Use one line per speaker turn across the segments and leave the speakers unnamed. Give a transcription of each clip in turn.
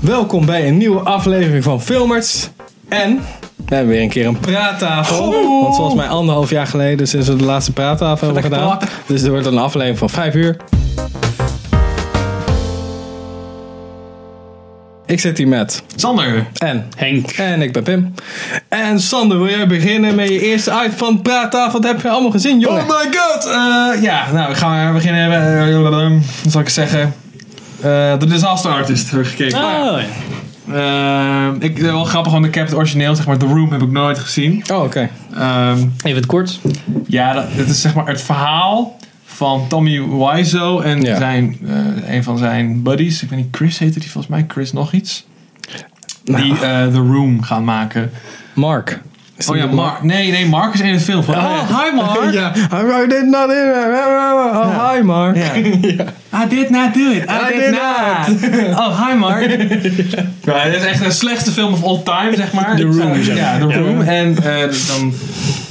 Welkom bij een nieuwe aflevering van Filmers. En we hebben weer een keer een praattafel. Want volgens mij anderhalf jaar geleden, sinds we de laatste praattafel hebben
Lekker
gedaan.
plak.
Dus er wordt een aflevering van vijf uur. Ik zit hier met
Sander.
en
Henk.
en ik ben Pim. En Sander, wil jij beginnen met je eerste uit van praattafel? Dat heb je allemaal gezien, jongen.
Oh my god! Eh, ja, nou, we gaan maar beginnen. Eh, Wat zal ik zeggen? Eh The Disaster Artist heb ik gekeken.
Ah.
Oh,
Eh, ik, eh, wel grappig, want ik heb het origineel, zeg maar, The Room heb ik nooit gezien.
Oh, oké.
Ehm,
Even het kort.
ja, dat, het is zeg maar het verhaal van Tommy Wiseau en
Ja.
zijn, eh, een van zijn buddies. Ik weet niet, Chris heette die volgens mij, Chris nog iets.
Nou.
Die eh, The Room gaan maken.
Mark. Is
Oh
die
ja,
de-
Mark. Nee, nee, Mark is in het film. Van,
ja.
oh, hi Mark.
Ja, I did not Oh, hi Mark.
Ja. I did not do it.
I
I, did,
did
not. Oh, hi Mark. ja, dit is echt een slechtste film of all time, zeg maar.
The Room,
Ja,
zeg
The
maar. Ja.
Room. En eh, dan...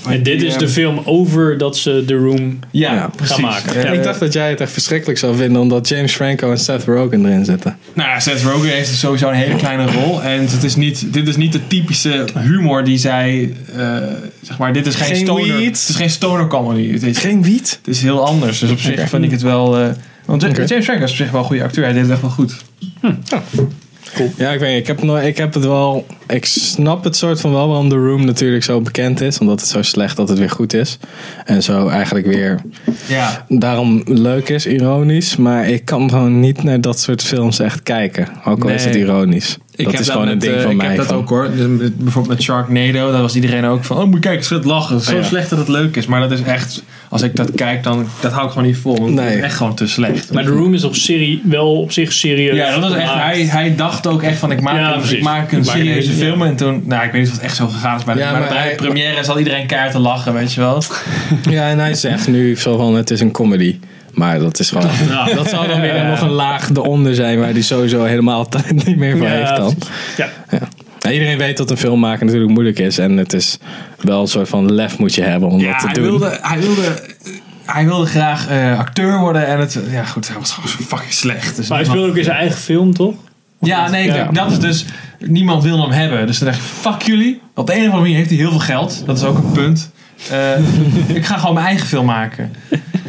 En ehm, dit is de film over dat ze The Room...
Ja,
Ja,
precies.
gaan maken.
Eh,
Ja.
Ik dacht dat jij het echt verschrikkelijk zou vinden omdat James Franco en Seth Rogen erin zitten.
Nou ja, Seth Rogen heeft sowieso een hele kleine rol. En het is niet, dit is niet de typische humor die zij... eh, zeg maar, dit is geen,
Geen
stoner...
weed.
Het is geen stoner comedy. Het is,
Geen wiet?
het is heel anders. Dus op zich
Oké.
vind ik het wel... eh, want
Oké.
James Franco is op zich wel een goede acteur. Hij deed het echt wel goed.
Ja, ik weet niet. Ik heb, nooit- ik heb het wel. Ik snap het soort van wel waarom The Room natuurlijk zo bekend is. Omdat het zo slecht dat het weer goed is. En zo eigenlijk weer
Ja.
daarom leuk is, ironisch. Maar ik kan gewoon niet naar dat soort films echt kijken. Ook al is het
Nee.
ironisch. dat is gewoon een
met,
ding
eh,
van
ik
mij.
heb dat
van-
ook hoor. Dus met- bijvoorbeeld met Sharknado, daar was iedereen ook van, oh moet je kijken, schrik lachen. Zo
Oh, Ja.
slecht dat het leuk is. Maar dat is echt, als ik dat kijk, dan dat hou ik gewoon niet vol. Want
Nee.
het is echt gewoon te slecht.
Maar The Room is toch serie, wel op zich serieus.
Ja, dat was echt,
gemaakt.
hij, hij dacht ook echt van, ik maak,
Ja,
een, ik
precies.
maak een
Ik maak een
serieuze
hele-
film. En toen, nou ik weet niet of het echt zo gegaan is, maar,
Ja,
maar,
maar
bij
hij-
de première zal iedereen keihard te lachen, weet je wel.
Ja, en hij zegt nu zo van het is een comedy. Maar dat is gewoon.
Ja.
Dat zou dan weer nog een laag eronder zijn waar die sowieso helemaal tijd niet meer van heeft dan.
precies. Ja.
Ja. Nou, iedereen weet dat een film maken natuurlijk moeilijk is. En het is wel een soort van lef moet je hebben om
Ja,
dat te
hij
doen.
wilde, hij wilde, hij wilde graag eh, acteur worden en het, ja goed, hij was gewoon zo fucking slecht. Dus
Maar
niemand-
hij speelde ook in zijn eigen film, toch?
Ja, nee,
Ja.
kijk, dat is dus. Niemand wil hem hebben. Dus dan dacht ik, fuck jullie. Op de een of andere manier heeft hij heel veel geld. Dat is ook een punt. Eh, ik ga gewoon mijn eigen film maken.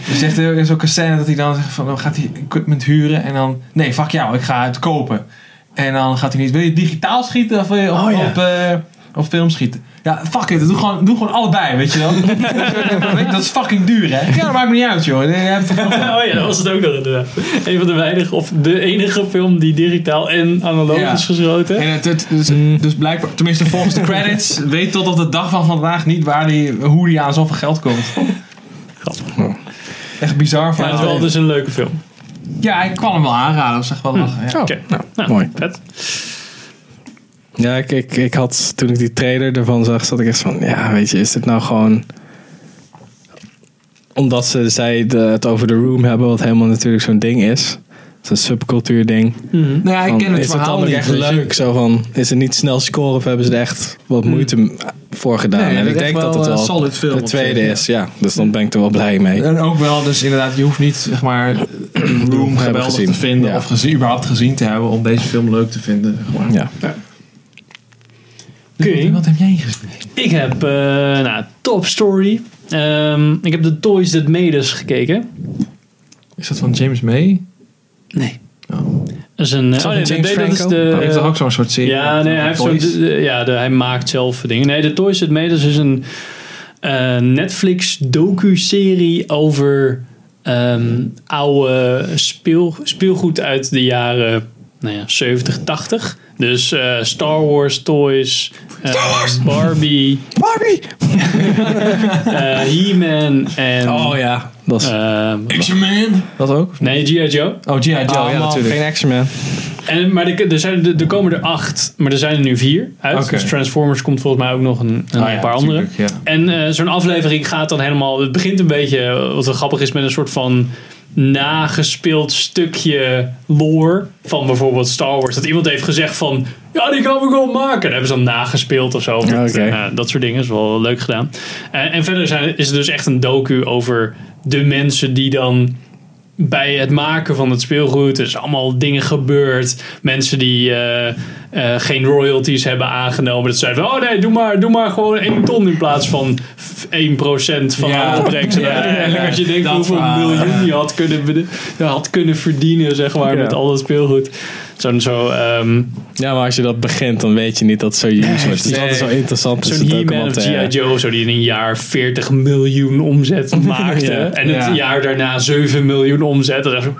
Dus zegt er is ook een scène dat hij dan zegt van, dan gaat hij equipment huren en dan, nee, fuck jou, ik ga het kopen. En dan gaat hij niet, wil je digitaal schieten of wil je op,
Oh, ja.
op, eh, op film schieten? Ja, fuck it, doe gewoon, doe gewoon allebei, weet je wel. dat is fucking duur, hè? Ja, dat maakt me niet uit, joh. Je hebt het toch wel.
Oh ja, dat was het ook nog inderdaad. Een van de weinige, of de enige film die digitaal en analoog
Ja.
is geschoten.
En het, het- dus,
Mm.
dus blijkbaar, tenminste volgens de credits, weet tot op de dag van vandaag niet waar die, hoe die aan zoveel geld komt.
Grappig.
Echt bizar van
Maar het is wel dus een leuke film.
Ja, ik kwam hem wel aanraden, dat is echt wel lachen. Ja.
Oh,
Oké.
nou,
Nou,
mooi.
Vet.
Ja, ik, ik, ik had toen ik die trailer ervan zag, zat ik echt van, ja, weet je, is dit nou gewoon omdat ze zij de- het over de room hebben, wat helemaal natuurlijk zo'n ding is, zo'n subcultuur ding.
Nou ja, ik
Van,
ken het
is het
verhaal
dan
niet dus
niet
echt
leuk? Zo van, is het niet snel scoren of hebben ze er echt wat moeite m- voor gedaan?
Hmm. Nee,
en
dat
ik
is
denk
echt
dat
wel
het
een
wel
solid film
de
op
tweede
zich, ja.
is. Ja, dus dan ben ik er wel blij mee.
En ook wel, dus inderdaad, je hoeft niet zeg maar Room
hebben
geweldig
gezien.
te vinden
Ja.
of gezien, überhaupt gezien te hebben om deze film leuk te vinden. Gewoon.
Ja.
Oké.
Wat heb jij gezien?
Ik heb eh nou, Top Story. Ehm, ik heb de Toys That Made Us gekeken.
Is dat van James May?
Nee.
Oh.
Dat is een...
dat
oh,
van
nee,
James
nee, dat is
Franco?
de...
Hij heeft toch ook zo'n soort serie?
Ja, nee, hij, heeft zo'n-
Toys?
de- de- ja de- hij maakt zelf dingen. Nee, de Toys That Made Us is dus een eh, Netflix docu-serie over ehm, oude speel, speelgoed uit de jaren nou ja, 70, 80. Dus eh, Star Wars toys, eh, Barbie,
Barbie!
eh, He-Man en...
Oh ja, dat is...
ehm,
Action Man? Dat ook?
nee, G.I. Joe.
Oh, G.I. Joe, ja,
Allemaal
natuurlijk.
Geen action Ah, man.
En, maar er, er, zijn, er, er komen er acht, maar er zijn er nu vier uit.
Oké.
Dus Transformers komt volgens mij ook nog een, een
Ah, ja,
paar andere.
natuurlijk, ja.
En eh, zo'n aflevering gaat dan helemaal. Het begint een beetje, eh, wat wel grappig is, met een soort van nagespeeld stukje lore van bijvoorbeeld Star Wars. Dat iemand heeft gezegd van, ja, die gaan we gewoon maken. En hebben ze dan nagespeeld of zo.
Ja, oké.
Eh, dat soort dingen is wel leuk gedaan. Eh, en verder zijn, is er dus echt een docu over de mensen die dan bij het maken van het speelgoed. Er is allemaal dingen gebeurd. Mensen die eh, eh, geen royalties hebben aangenomen. Dat zeiden van, oh nee, doe maar, doe maar gewoon 1 ton in plaats van f- 1% van
Ja.
de opbrengst. En
Ja, ja, ja.
eigenlijk als je denkt
Dat
hoeveel
waar.
miljoen je had kunnen, bede- had kunnen verdienen, zeg maar,
Ja.
met al dat speelgoed. Zo'n zo, ehm,
Ja, maar als je dat begint, dan weet je niet dat het zo huge wordt. Dus
nee.
dat is wel interessant. is
Zo'n
het ook om
He-Man
op
of
te-
G.I. Joe, zo die in een jaar 40 miljoen omzet maakte.
Ja.
En het
Ja.
jaar daarna 7 miljoen omzet. En dat zo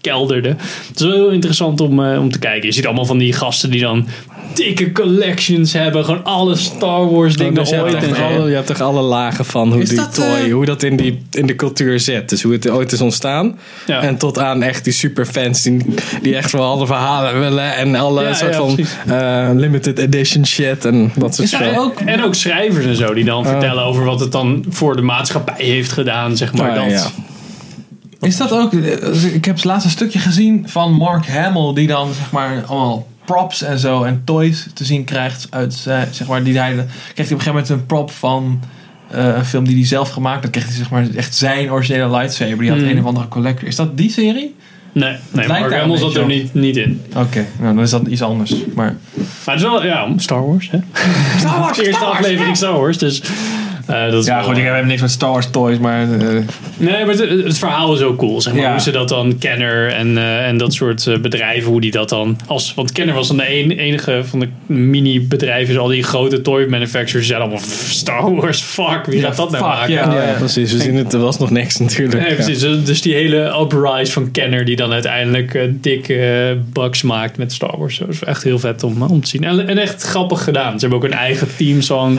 kelderde. Het is wel heel interessant om, eh, om te kijken. Je ziet allemaal van die gasten die dan dikke collections hebben. Gewoon alle Star Wars
Oh,
dingen
dus je, hebt
ooit.
echt
En zo.
alle, je hebt toch alle lagen van hoe,
Is
die
dat,
toy,
eh,
hoe dat in, die, in de cultuur zit. Dus hoe het ooit is ontstaan.
Ja.
En tot aan echt die superfans die, die echt wel alle verhalen willen. En alle
Ja,
soort
ja,
van
precies.
eh, limited edition shit en dat soort
Ja, en
spel.
ook, en ook schrijvers en zo die dan vertellen over wat het dan voor de maatschappij heeft gedaan, zeg maar.
Maar
dat.
Ah, ja.
Is dat ook... eh, Ik heb het laatste stukje gezien van Mark Hamill... die dan zeg maar allemaal props en zo en toys te zien krijgt uit... zijn- zeg maar, die hij, krijgt hij op een gegeven moment een prop van... eh, een film die hij zelf gemaakt had, kreeg hij zeg maar echt zijn originele lightsaber. Die had
Mm.
een of andere collector. Is dat die serie?
Nee, nee
daar
Mark
een
Hamill zat
beetje
er
op.
niet, niet in.
Oké, nou dan is dat iets anders. Maar
Maar het is wel, ja, Star Wars, hè?
Star Wars,
Eerste aflevering Star Wars, dus... eh, dat is
Ja,
wel-
goed, ik heb niks met Star Wars toys, maar... eh,
Nee, maar het, het verhaal is ook cool. Zeg maar.
Ja.
Hoe ze dat dan, Kenner en, eh, en dat soort eh, bedrijven, hoe die dat dan... Als, want Kenner was dan de een- enige van de mini-bedrijven. Dus al die grote toy manufacturers die zeiden allemaal... "Pff, Star Wars, fuck, wie
Ja,
gaat dat nou
fuck,
maken?
ja.
Ja, precies. We zien het, er was nog niks natuurlijk.
Nee, precies. Dus- Dus die hele uprise van Kenner die dan uiteindelijk eh, dikke eh, bugs maakt met Star Wars. Dat is echt heel vet om, eh, om te zien. En, en echt grappig gedaan. Ze hebben ook een eigen teamsong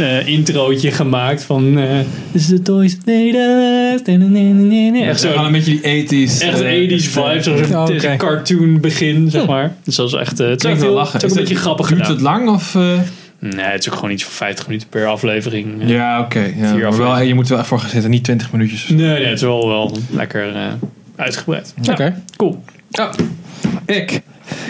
eh introotje gemaakt van... eh This is the toys made us. Da, da, da, da, da. Echt
Echt wel
zo'n
een beetje die 80s.
Echt
eh,
80s vibes, zo'n
Oh, oké.
zo'n cartoon begin, zeg maar. Dus dat is echt. eh, het is
Klinkt
echt
wel
heel-
lachen.
Het is
Is
ook een beetje
dat-
grappig
Duurt
gedaan.
het lang of... eh?
Nee, het is ook gewoon iets van 50 minuten per aflevering. eh.
Ja, oké. ja. Maar wel,
afleveringen.
je moet er wel echt voor gaan zitten, niet 20 minuutjes.
Nee, nee, het is wel, wel lekker eh, uitgebreid.
Oké.
Ja, cool.
Ja. Ik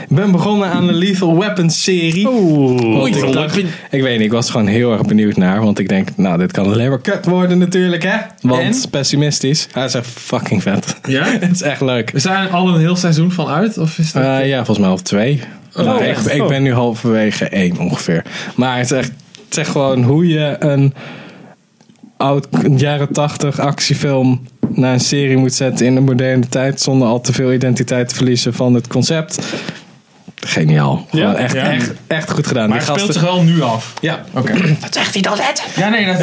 ben begonnen aan de Lethal Weapons serie.
Oeh,
Want ik, dacht- ik weet niet, ik was gewoon heel erg benieuwd naar. Want ik denk, nou, dit kan alleen maar kut worden natuurlijk, hè? Want
En?
pessimistisch. Hij is echt fucking vet.
Ja?
het is echt leuk.
Is daar al een heel seizoen van uit? Of is dat...
Eh, ja, volgens mij half twee. Nou, ik,
echt?
ik
Oh.
ben nu halverwege één ongeveer. Maar het is echt, het is echt gewoon hoe je een oud een jaren tachtig actiefilm naar een serie moet zetten in de moderne tijd. Zonder al te veel identiteit te verliezen van het concept. Geniaal.
Ja?
Gewoon echt,
Ja.
echt, echt goed gedaan.
maar het
Die
speelt
gasten-
zich wel nu af.
ja,
Oké. Wat zegt hij dan net? Ja, nee, dat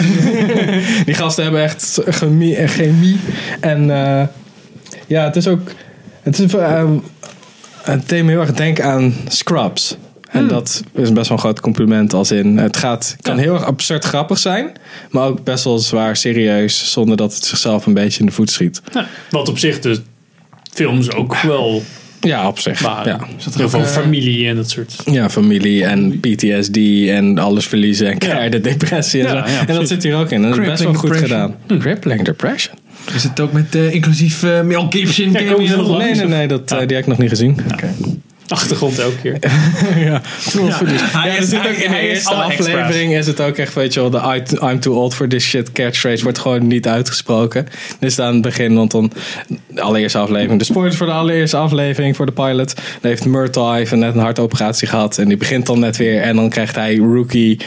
Die gasten hebben echt chemie. En, chemie. en eh, ja, het is ook. Het is eh, het thema heel erg denken aan Scrubs. En dat is best wel een groot compliment. Als in het gaat, kan heel erg absurd grappig zijn. Maar ook best wel zwaar serieus. Zonder dat het zichzelf een beetje in de voet schiet.
Nou, wat op zich dus films ook wel
Ja, op zich.
waren.
Ja.
dat
Heel
ook,
veel
eh,
familie en dat soort.
Ja, familie en PTSD en alles verliezen en keiharde depressie en
Ja,
zo.
ja,
en dat
precies.
zit hier ook in. En dat is best wel
Crippling
goed
depression.
gedaan. Crippling depression.
Is het ook met eh, inclusief eh, Mel Gibson?
Ja, komen ze nog
Nee, nee, nee, dat, eh, die heb ik nog niet gezien.
Achtergrond elke keer.
Ja, ja.
Hij
er
is-
zit ook
hij-
in de
hij is
eerste
alle extra's.
aflevering is het ook echt, weet je wel, de I- I'm too old for this shit catchphrase wordt gewoon niet uitgesproken. Dus aan het begin, want dan de allereerste aflevering, de spoilers voor de allereerste aflevering voor de pilot, dan heeft Murtaugh even net een hartoperatie gehad en die begint dan net weer en dan krijgt hij rookie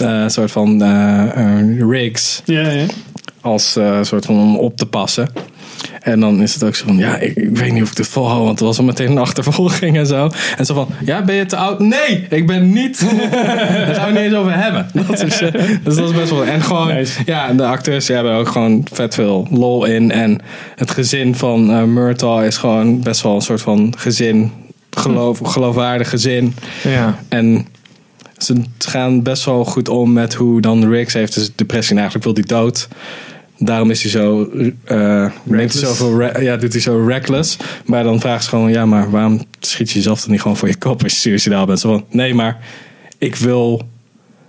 eh, soort van eh, eh, rigs
Ja, ja.
als eh, soort van om op te passen. En dan is het ook zo van, ja, ik, ik weet niet of ik dit volhoud, want er was al meteen een achtervolging en zo. En zo van, ja, ben je te oud? Nee, ik ben niet. Daar gaan we niet eens over hebben. Dat is, eh, dus dat is best wel... En gewoon,
Nice.
ja, de acteurs die hebben ook gewoon vet veel lol in. En het gezin van eh Murtaugh is gewoon best wel een soort van gezin, geloof, geloofwaardig gezin.
Ja.
En ze gaan best wel goed om met hoe dan Riggs heeft dus depressie en eigenlijk wil hij dood. Daarom is hij zo, eh neemt hij zoveel re- ja, doet hij zo reckless. Maar dan vraagt ze gewoon, ja, maar waarom schiet je jezelf dan niet gewoon voor je kop als je suicidaal bent? Zo van, nee, maar ik wil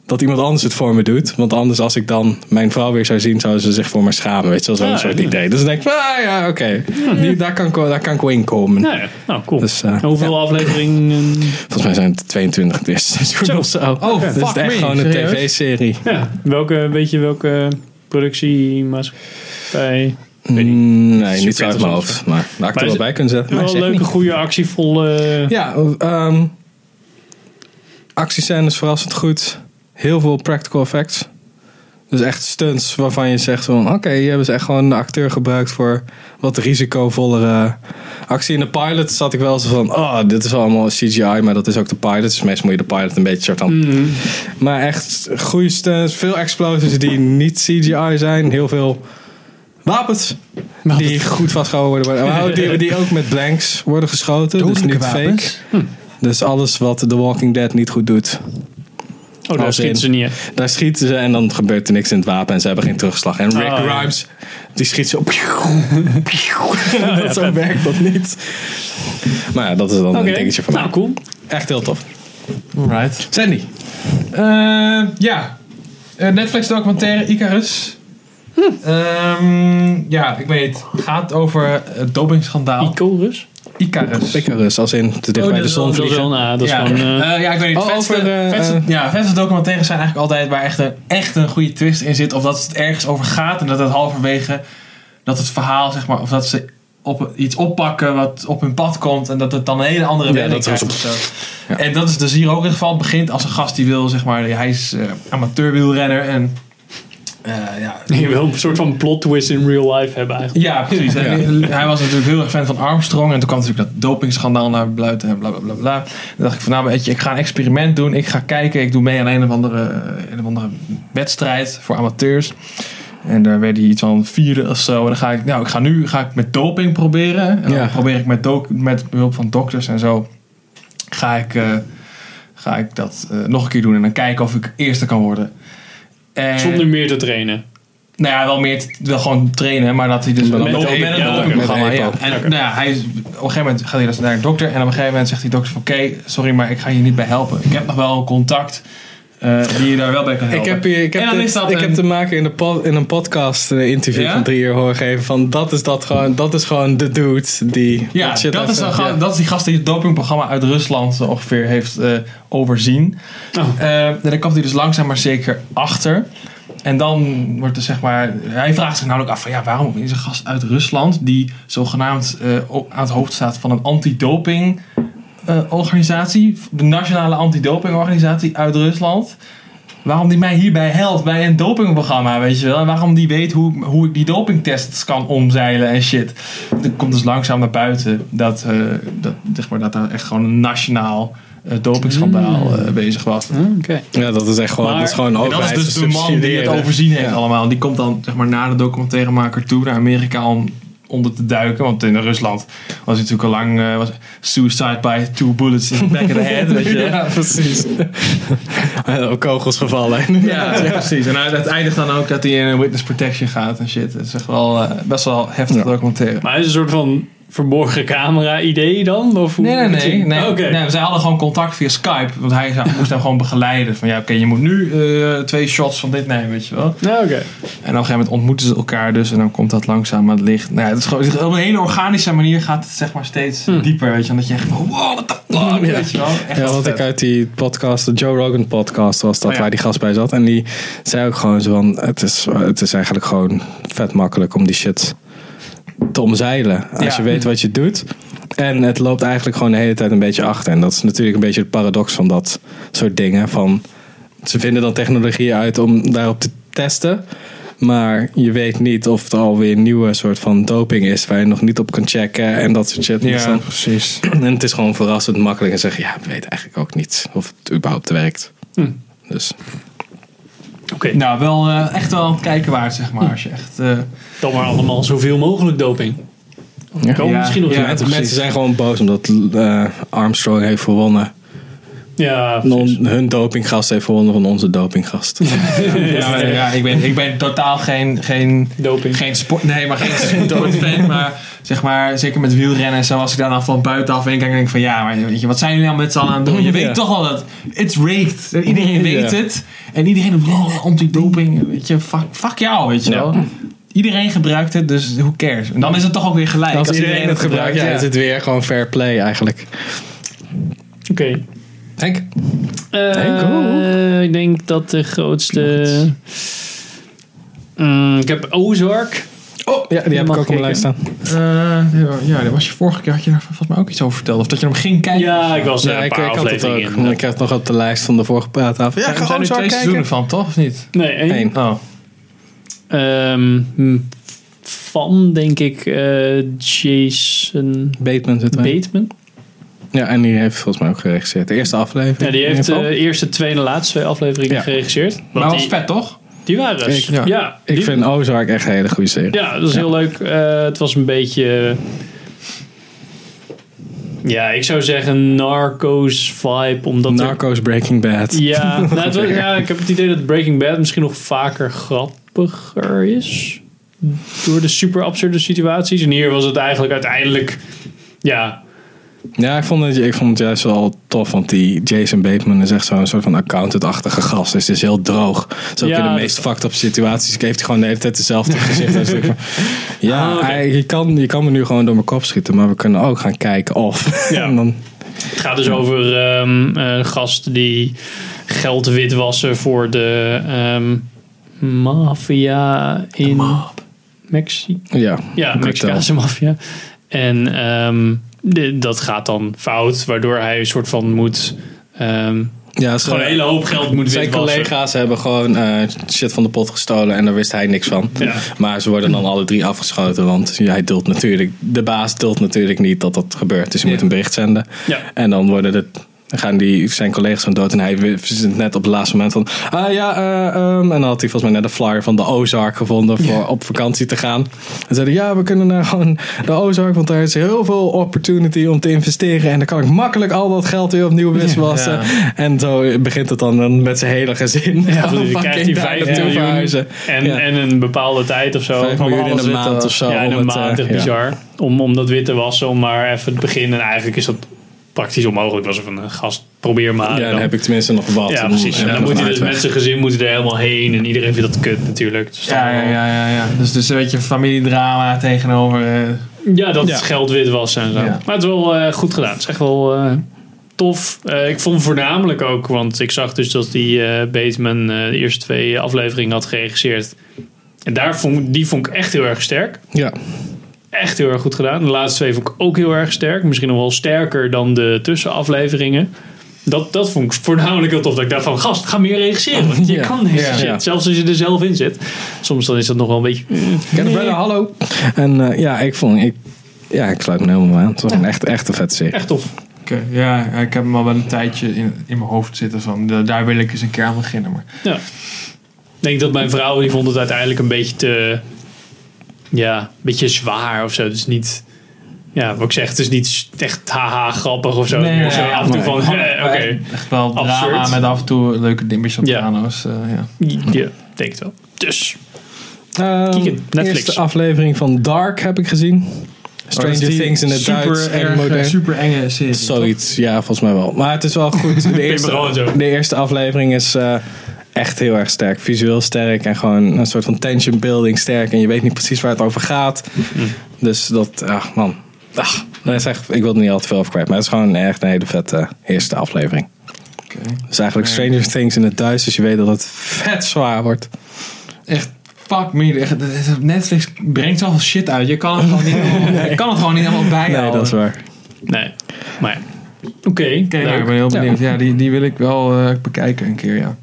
dat iemand anders het voor me doet. Want anders als ik dan mijn vrouw weer zou zien, zou ze zich voor me schamen. Weet je wel, zo'n
Ja,
soort
ja.
idee. Dus dan denk ik, ah ja, oké. Die- Daar, kan ik wel- daar kan ik wel in komen.
Nou, ja. nou cool.
Dus, eh,
Hoeveel afleveringen?
Volgens mij zijn het 22 het eerste seizoen
Zo.
of zo.
Oh,
Dus het
fuck
is echt
me.
gewoon een
Serieus?
tv-serie.
Ja, welke, weet je welke productiemaatschappij? Weet niet.
Mm, Nee,
Super
niet zo uit mijn hoofd. Maar nou, ik
Maar
er
is-
wel bij kunnen zetten. Maar
Wel
ik zeg
leuke,
niet.
goede, actievolle...
Ja, ehm actiescènes verrassend goed. Heel veel practical effects. Dus echt stunts waarvan je zegt van... Oké, hier hebben ze echt gewoon een acteur gebruikt voor wat risicovollere actie. In de pilot zat ik wel zo van... Oh, dit is allemaal CGI, maar dat is ook de pilot. Dus meestal moet je de pilot een beetje soort van...
Mm.
Maar echt goede stunts. Veel explosies die niet CGI zijn. Heel veel wapens
Maar
die goed vastgehouden worden. Maar ook die, die ook met blanks worden geschoten. dus niet fake. Dus alles wat The Walking Dead niet goed doet,
oh,
als
daar
in-
schieten ze niet uit.
daar schieten ze en dan gebeurt er niks in het wapen en ze hebben geen terugslag. En Rick
Ah, ja.
Grimes, die schiet zo. dat zo werkt dat niet. Maar ja, dat is dan
Oké.
een dingetje van mij.
Nou, cool.
Echt heel tof.
Alright.
Sandy.
Eh, ja. Eh, Netflix documentaire Icarus. Hm. Ehm, ja, ik weet het. gaat over het
Nou.
dopingschandaal
Oh,
Icorus?
Icarus.
Icarus, als in te dicht bij
Oh, dat
de
is
zon
Dat is
vliegen.
wel een... ah, Dat is
ja.
gewoon... eh,
Eh, ja, ik weet niet.
Oh,
vetste,
over, eh,
vetste-
eh,
ja, vetste documentaires zijn eigenlijk altijd waar echt een, echt een goede twist in zit. Of dat het ergens over gaat en dat het halverwege dat het verhaal, zeg maar, of dat ze op, iets oppakken wat op hun pad komt en dat het dan een hele andere
Ja,
wending
dat is
krijgt. of zo.
Ja.
En dat is dus hier ook in het geval. Het begint als een gast die wil, zeg maar, hij is eh, amateur wielrenner en eh, ja,
Je wil een soort van plot twist in real life hebben eigenlijk.
ja, precies. En Hij was natuurlijk heel erg fan van Armstrong. En toen kwam natuurlijk dat dopingschandaal naar buiten en bla bla bla bla. Toen dacht ik van nou, weet je, ik ga een experiment doen. Ik ga kijken. Ik doe mee aan een of andere, een of andere wedstrijd voor amateurs. En daar werd hij iets van vierde of zo. En dan ga ik, nou, ik ga nu ga ik met doping proberen. En dan
Ja.
probeer ik met, doc- met behulp van dokters en zo. Ga ik, eh, ga ik dat eh, nog een keer doen. En dan kijken of ik eerste kan worden. En-
Zonder meer te trainen.
nou ja, wel meer te- wel gewoon trainen, maar dat hij dus
Met
wel
een
loopt
epo.
met
Ja,
een
oké.
dopingprogramma.
Met een
Ja.
epo.
En nou ja, hij is, op een gegeven moment gaat hij dus naar de dokter en op een gegeven moment zegt die dokter van oké, sorry, maar ik ga je niet bij helpen. Ik heb nog wel een contact eh, die je daar wel bij kan
Ik
helpen.
heb, hier, ik heb,
En dan
dit-
is dat
ik
een-
heb te maken in, de pod- in een podcast een interview
Ja?
van drie uur horen geven van dat is, dat, gewoon, dat is gewoon de dude die
ja,
shit
dat
heeft
is, dan
gedaan.
ga-
Ja.
dat is die gast die het dopingprogramma uit Rusland eh, ongeveer heeft eh, overzien.
Oh.
Eh, en dan komt hij dus langzaam maar zeker achter. En dan wordt er zeg maar. Hij vraagt zich namelijk af van ja, waarom is een gast uit Rusland die zogenaamd eh, op- aan het hoofd staat van een antidoping eh, organisatie, de nationale antidopingorganisatie uit Rusland. Waarom die mij hierbij helpt bij een dopingprogramma, weet je wel? En waarom die weet hoe, hoe ik die dopingtests kan omzeilen en shit. Er komt dus langzaam naar buiten dat, eh, dat, zeg maar, dat daar echt gewoon een nationaal eh, dopingschandaal eh, bezig was.
Oké.
Ja, dat is echt gewoon,
Maar-
dat is gewoon
En dat is
overheid
dus de man die het
subsidiëren.
overzien heeft
Ja.
allemaal. Die komt dan zeg maar, naar de documentairemaker toe, naar Amerika, om onder te duiken. Want in Rusland was hij natuurlijk al lang eh, was suicide by two bullets in the back of the head. Weet je?
Ja, precies. En ook Eh, kogels gevallen.
Ja, precies. En hij- het eindigt dan ook dat hij in een witness protection gaat en shit. Dat is echt wel eh, best wel heftig
Ja.
documentaire.
Maar is het een soort van verborgen camera idee dan? Of hoe
Nee, nee, nee. nee.
Oké.
nee zij hadden gewoon contact via Skype. Want hij zou- moest hem gewoon begeleiden. Van ja, oké, je moet nu eh, twee shots van dit nemen, weet je wel.
Nou, oké.
En op een gegeven moment ontmoeten ze elkaar dus. En dan komt dat langzaam aan het licht. Nou ja, het is gewoon, op een hele organische manier gaat het zeg maar steeds dieper. Weet je, omdat je echt van wow, what the fuck.
Ja.
Weet je wel. Echt
Ja,
wel
wat
vet.
ik uit die podcast, de Joe Rogan podcast was dat,
Oh ja.
waar die gast bij zat. En die zei ook gewoon zo van, het is, het is eigenlijk gewoon vet makkelijk om die shit te omzeilen. Als
Ja.
je weet wat je doet. En het loopt eigenlijk gewoon de hele tijd een beetje achter. En dat is natuurlijk een beetje het paradox van dat soort dingen. Van, ze vinden dan technologie uit om daarop te testen. Maar je weet niet of het alweer een nieuwe soort van doping is waar je nog niet op kan checken en dat soort shit. Dus
Ja,
dan-
precies.
en het is gewoon verrassend makkelijk en zeggen, ja, we weten eigenlijk ook niet of het überhaupt werkt.
Hm.
Dus
Oké.
Nou, wel eh, echt wel aan het kijken waard, zeg maar. Als je echt... eh,
Dan maar allemaal zoveel mogelijk doping.
Ja.
Komen
Ja,
misschien nog
ja,
ja,
het-
uit.
mensen zijn gewoon boos omdat eh, Armstrong heeft gewonnen.
Ja,
En
precies.
on- hun dopinggast heeft gewonnen van onze dopinggast.
ja, maar, ja, ik ben, ik ben totaal geen... geen
Doping.
geen sport, nee, maar geen sportfan, maar zeg maar, zeker met wielrennen en zo, als ik daar dan van buitenaf in kijk, denk ik van ja, maar weet je, wat zijn jullie nou met z'n allen aan het doen? Je weet
Ja.
toch al dat it's rigged. Iedereen weet
Ja.
het. En iedereen doet oh, anti-doping, weet je, fuck, fuck jou, weet je
Ja.
wel. Iedereen gebruikt het, dus who cares? En dan is het toch ook weer gelijk.
Als iedereen het gebruikt, ja, is het weer gewoon fair play eigenlijk.
Oké.
Henk?
Eh,
Henk, hoe?
ik denk dat de grootste... Mm, ik heb Ozark.
Oh, Ja, die heb ik ook op mijn lijst staan.
Eh, ja, daar was je vorige keer had je daar volgens mij ook iets over verteld. Of dat je hem ging kijken.
Ja, ik was
Ja,
er een
ik,
paar
ik had het
afleveringen
ook.
in.
want Ik heb het nog op de lijst van de vorige praattafel. Ja,
er
ga
zijn
gewoon
er
zo
twee
kijken.
seizoenen van, toch? Of niet?
Nee, één.
Eén.
Oh.
Ehm, hm, van, denk ik, eh, Jason
Bateman zit erin.
Bateman.
Ja, en die heeft volgens mij ook geregisseerd. De eerste aflevering.
Ja, die
in
heeft
ieder
de
geval.
eerste, tweede, laatste twee afleveringen
Ja.
geregisseerd.
Maar
Want
was
die,
vet, toch?
die waren dus.
Ik-
ja,
ja.
die-
ik vind Ozark echt een hele goede serie.
Ja, dat is heel leuk. Eh, het was een beetje... Ja, ik zou zeggen Narcos-vibe, omdat er
Narcos Breaking Bad.
Ja, nou, het wel- ja, ik heb het idee dat Breaking Bad misschien nog vaker grappiger is. Door de super absurde situaties. En hier was het eigenlijk uiteindelijk. Ja,
Ja, ik vond, het, ik vond het juist wel tof, want die Jason Bateman is echt zo'n soort van accountant-achtige gast. Dus het is heel droog. Dus ook
Ja,
in
dat-
de meest fucked up situaties heeft hij gewoon de hele tijd dezelfde gezicht. Dus ik van, ja,
Ah, oké.
hij- je, kan, je kan me nu gewoon door mijn kop schieten, maar we kunnen ook gaan kijken of.
Ja.
En dan,
het gaat dus over ehm, een gast die geld witwassen voor de ehm maffia in Mexico.
ja,
Ja,
Cartel.
Mexicaanse maffia. En ehm, de- dat gaat dan fout, waardoor hij een soort van moet. ehm,
ja het is
gewoon een hele hoop geld moet
Zijn
witwassen.
collega's hebben gewoon eh, shit van de pot gestolen en daar wist hij niks van.
Ja.
Maar ze worden dan alle drie afgeschoten, want hij duldt natuurlijk, de baas duldt natuurlijk niet dat dat gebeurt. Dus je moet
Ja.
een bericht zenden.
Ja.
En dan worden de, dan gaan die, zijn collega's van dood en hij zit net op het laatste moment van, ah ja, eh, ehm, en dan had hij volgens mij net een flyer van de Ozark gevonden voor op vakantie te gaan. En zeiden, ja, we kunnen naar gewoon de Ozark, want daar is heel veel opportunity om te investeren en dan kan ik makkelijk al dat geld weer opnieuw witwassen.
Ja.
En zo begint het dan, dan met zijn hele gezin.
Ja, dus je krijgt
Fucking
die
daar
5
naartoe
miljoen
verhuizen.
en,
Ja.
en een bepaalde tijd of zo.
Vijf
Oh, Van
miljoen in
alles
een
wit te-
maand of zo,
Ja, in
om
een
het,
maand.
eh,
Echt
ja.
bizar. Om, om dat wit te wassen, om maar even het begin. En eigenlijk is dat praktisch onmogelijk. Was er van een gast, probeer maar.
Ja, dan heb ik tenminste nog wat.
ja,
om-
precies.
om
En dan
nog
moet hij
een
dus met
uitweg.
zijn gezin moet hij er helemaal heen. En iedereen vindt dat kut natuurlijk. Dus
Ja,
dan-
ja, ja, ja, ja. Dus, dus een beetje familiedrama tegenover... eh,
Ja, dat
Ja.
het geld wit was en zo.
Ja.
Maar het is wel eh, goed gedaan. Het is echt wel eh, tof. Eh, ik vond voornamelijk ook, want ik zag dus dat die eh, Bateman eh, de eerste twee afleveringen had geregisseerd. En daar vond, die vond ik echt heel erg sterk.
Ja,
Echt heel erg goed gedaan. De laatste twee vond ik ook heel erg sterk. Misschien nog wel sterker dan de tussenafleveringen. Dat, dat vond ik voornamelijk heel tof. Dat ik dacht van, gast, ga meer regisseren. Want je
Ja.
kan deze
Ja.
shit.
Ja.
Zelfs als je er zelf in zit. Soms dan is dat nog wel een beetje...
Get a brother, hallo. En eh, ja, ik vond, ik, ja, ik sluit me helemaal aan. Het was een echt, echt een vette serie.
Echt tof.
Oké, ja, ik heb hem al wel een tijdje in, in mijn hoofd zitten van de- daar wil ik eens een keer aan beginnen. Maar
Ja. Ik denk dat mijn vrouw die vond het uiteindelijk een beetje te. Ja, een beetje zwaar of zo. Dus niet. Ja, wat ik zeg, het is niet echt haha grappig of zo.
Nee,
Het is
nee,
wel af en toe
nee.
van. eh, Oké.
echt wel
Absurd.
drama met af en toe leuke dimmetjes op
Ja.
piano's. eh, ja.
Ja, ik denk het wel. Dus.
Ehm,
Kieken, Netflix.
Eerste aflevering van Dark heb ik gezien. Stranger
Oh, dat is die
Things in het
super
Duits en
erg, eh,
modern.
Super enge serie.
Zoiets, ja, volgens mij wel. Maar het is wel goed. De
Pimperel en
eerste,
zo.
de eerste aflevering is eh, echt heel erg sterk. Visueel sterk en gewoon een soort van tension building sterk. En je weet niet precies waar het over gaat. Dus dat, ach man. Ach, dat is echt, ik wil er niet al te veel over kwijt. Maar het is gewoon echt een hele vette eerste aflevering.
Oké.
Dus eigenlijk
Ja.
Stranger Things in het Duits. Dus je weet dat het vet zwaar wordt.
Echt, fuck me. echt, dat is- Netflix brengt zoveel shit uit. Je kan het gewoon niet, helemaal- je kan het gewoon niet helemaal bijhouden.
Nee, dat is waar.
Nee. Maar. ja. Oké.
Kijk,
leuk.
ik ben heel
Ja.
benieuwd. Ja, die, die wil ik wel eh, bekijken een keer, ja.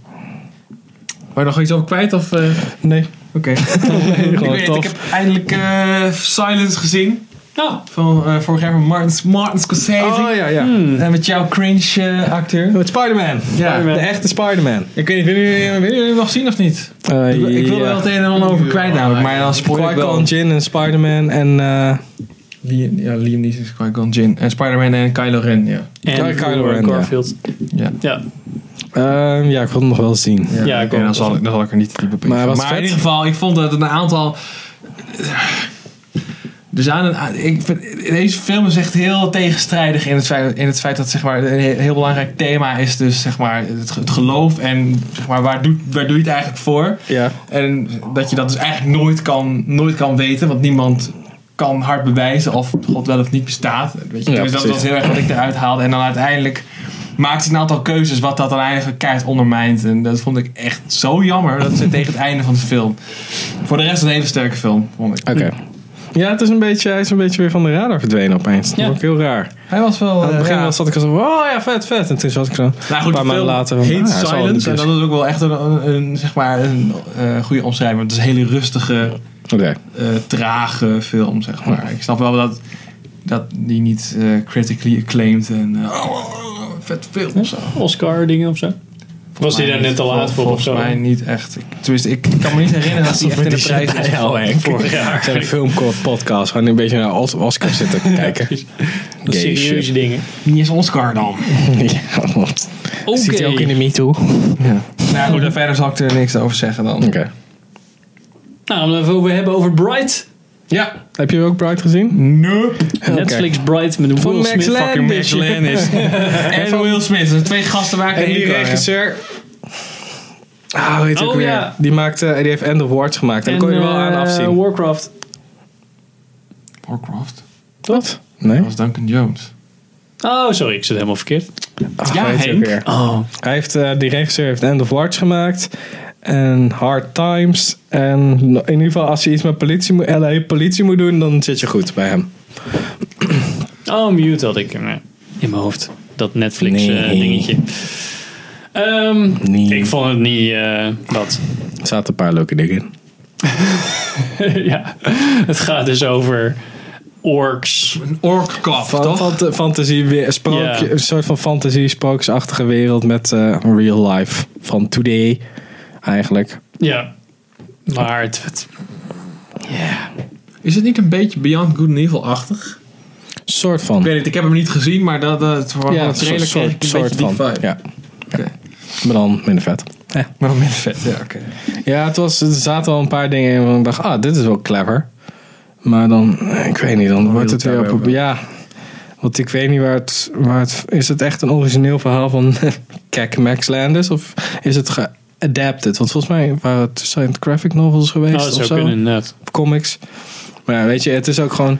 Maar nog iets over kwijt? Of, eh, Oké.
Nee,
ik
gewoon
weet het, ik
tof.
heb eindelijk eh, Silence gezien.
Nou,
Van eh, vorig jaar van Martin, Martin Scorsese.
Oh ja, ja.
En met jouw cringe eh, acteur.
Met Spider-Man.
Ja.
De echte Spider-Man.
Ik weet niet, willen jullie, willen jullie hem nog zien of niet?
Eh,
Ik, ik wil
ja.
er wel het een en ander over kwijt namelijk, maar dan spoil ik wel.
Qui-Gon Jinn en Spider-Man en... eh,
Liam, ja, Liam Neeson is Qui-Gon Jinn. En Spider-Man en Kylo Ren, ja.
en
Kylo Ren, ja.
Garfield.
Ja.
Ja.
Ehm, ja, ik wil hem nog wel zien.
Ja,
Ja, ik
oké,
ook.
dan, zal ik, dan zal ik er niet te diep op in.
Maar hij was
in
vet.
ieder geval, ik vond dat een aantal... Dus aan een, aan- ik vind, deze film is echt heel tegenstrijdig in het feit, in het feit dat zeg maar, een he- heel belangrijk thema is dus zeg maar, het, het geloof en zeg maar, waar, doet, waar doe je het eigenlijk voor?
Ja.
En dat je dat dus eigenlijk nooit kan, nooit kan weten, want niemand kan hard bewijzen of God wel of niet bestaat. Weet je?
Ja,
dus dat
precies.
was heel erg wat ik eruit haalde. En dan uiteindelijk maakt ze een aantal keuzes wat dat dan eigenlijk keihard ondermijnt. En dat vond ik echt zo jammer. Dat ze tegen het einde van de film. Voor de rest een hele sterke film, vond ik.
Oké. Ja, het is een beetje, hij is een beetje weer van de radar verdwenen opeens. Dat
Ja.
vond ik heel raar.
Hij was wel...
Aan het
eh,
begin
ja.
was, zat ik al zo, oh ja, vet, vet. En toen zat ik zo
Nou
een
goed,
paar maanden later van,
Heet
ah, hij zal in de
Silence. En
bus.
dat is ook wel echt een, een, een, zeg maar een eh, goede omschrijving. want Het is een hele rustige,
Oké.
eh, trage film, zeg maar. Ik snap wel dat, dat die niet eh, critically acclaimed en eh, oh, oh, oh, vet film of zo.
Oscar dingen of zo. Was die daar
Maar
net te
vol-
laat voor of
Volgens
zo?
mij niet echt. Ik, tenminste, ik kan me niet herinneren dat die echt in de prijs is.
Vorig jaar. Zijn filmkort podcast. Gewoon een beetje naar Os- Oscar zitten kijken.
Dat
Gay
serieuze
shit.
dingen.
Niet eens Oscar dan.
ja, wat.
Oké.
Me Too? Ja.
Nou goed, en verder zal ik er niks over zeggen dan.
Oké.
Nou, om het even over hebben over Bright.
Ja.
Heb je ook Bright gezien?
Nope.
Netflix Bright met Will
Van Max
Smith.
Landis.
Fucking Max Landis. dus- en Will Smith. Dat zijn twee gasten waar ik
En
heen
die
kan, hè.
regisseur. Ah, weet ik
Oh,
ook weer.
ja.
Die, maakte, die heeft End of Watch gemaakt. En,
En,
daar kon je er wel aan
eh,
afzien.
Warcraft.
Warcraft.
Wat? Nee?
Dat was Duncan Jones.
Oh, sorry, ik zit helemaal verkeerd.
Ach,
Ja,
Ah, weet ik ook
Henk.
weer.
Oh,
Hij heeft, eh, die regisseur heeft End of Watch gemaakt. En Hard Times. En in ieder geval als je iets met politie moet, LA politie moet doen, dan zit je goed bij hem.
oh mute had ik hem eh, in mijn hoofd. Dat Netflix eh,
Nee.
dingetje. Ehm,
Nee.
Ik vond het niet eh, wat.
Er zaten een paar leuke dingen in.
ja, het gaat dus over orks.
Een orkkap,
Van,
toch?
fant- fantasie, weer- sprookje,
Ja.
Een soort van fantasie, sprookjesachtige wereld met eh, real life. Van today, eigenlijk.
Ja, maar het, het-
Is het niet een beetje Beyond Good and Evil-achtig?
soort
Ik
van.
weet niet, ik heb hem niet gezien, maar dat, dat voor
Ja,
een trailer kreeg ik een beetje die vibe.
Ja,
Oké.
maar dan minder vet.
Maar dan minder vet, ja, oké.
Ja, het was, er zaten wel een paar dingen in waarvan ik dacht, ah, dit is wel clever. Maar dan, eh, ik weet niet, dan wordt het weer op...
daarover.
Ja, want ik weet niet waar het, waar het... Is het echt een origineel verhaal van Kijk Max Landis? Of is het geadapted? Want volgens mij waren het zijn het graphic novels geweest
nou, het
of
zou
zo.
kunnen inderdaad.
Of comics. Maar ja, weet je, het is ook gewoon...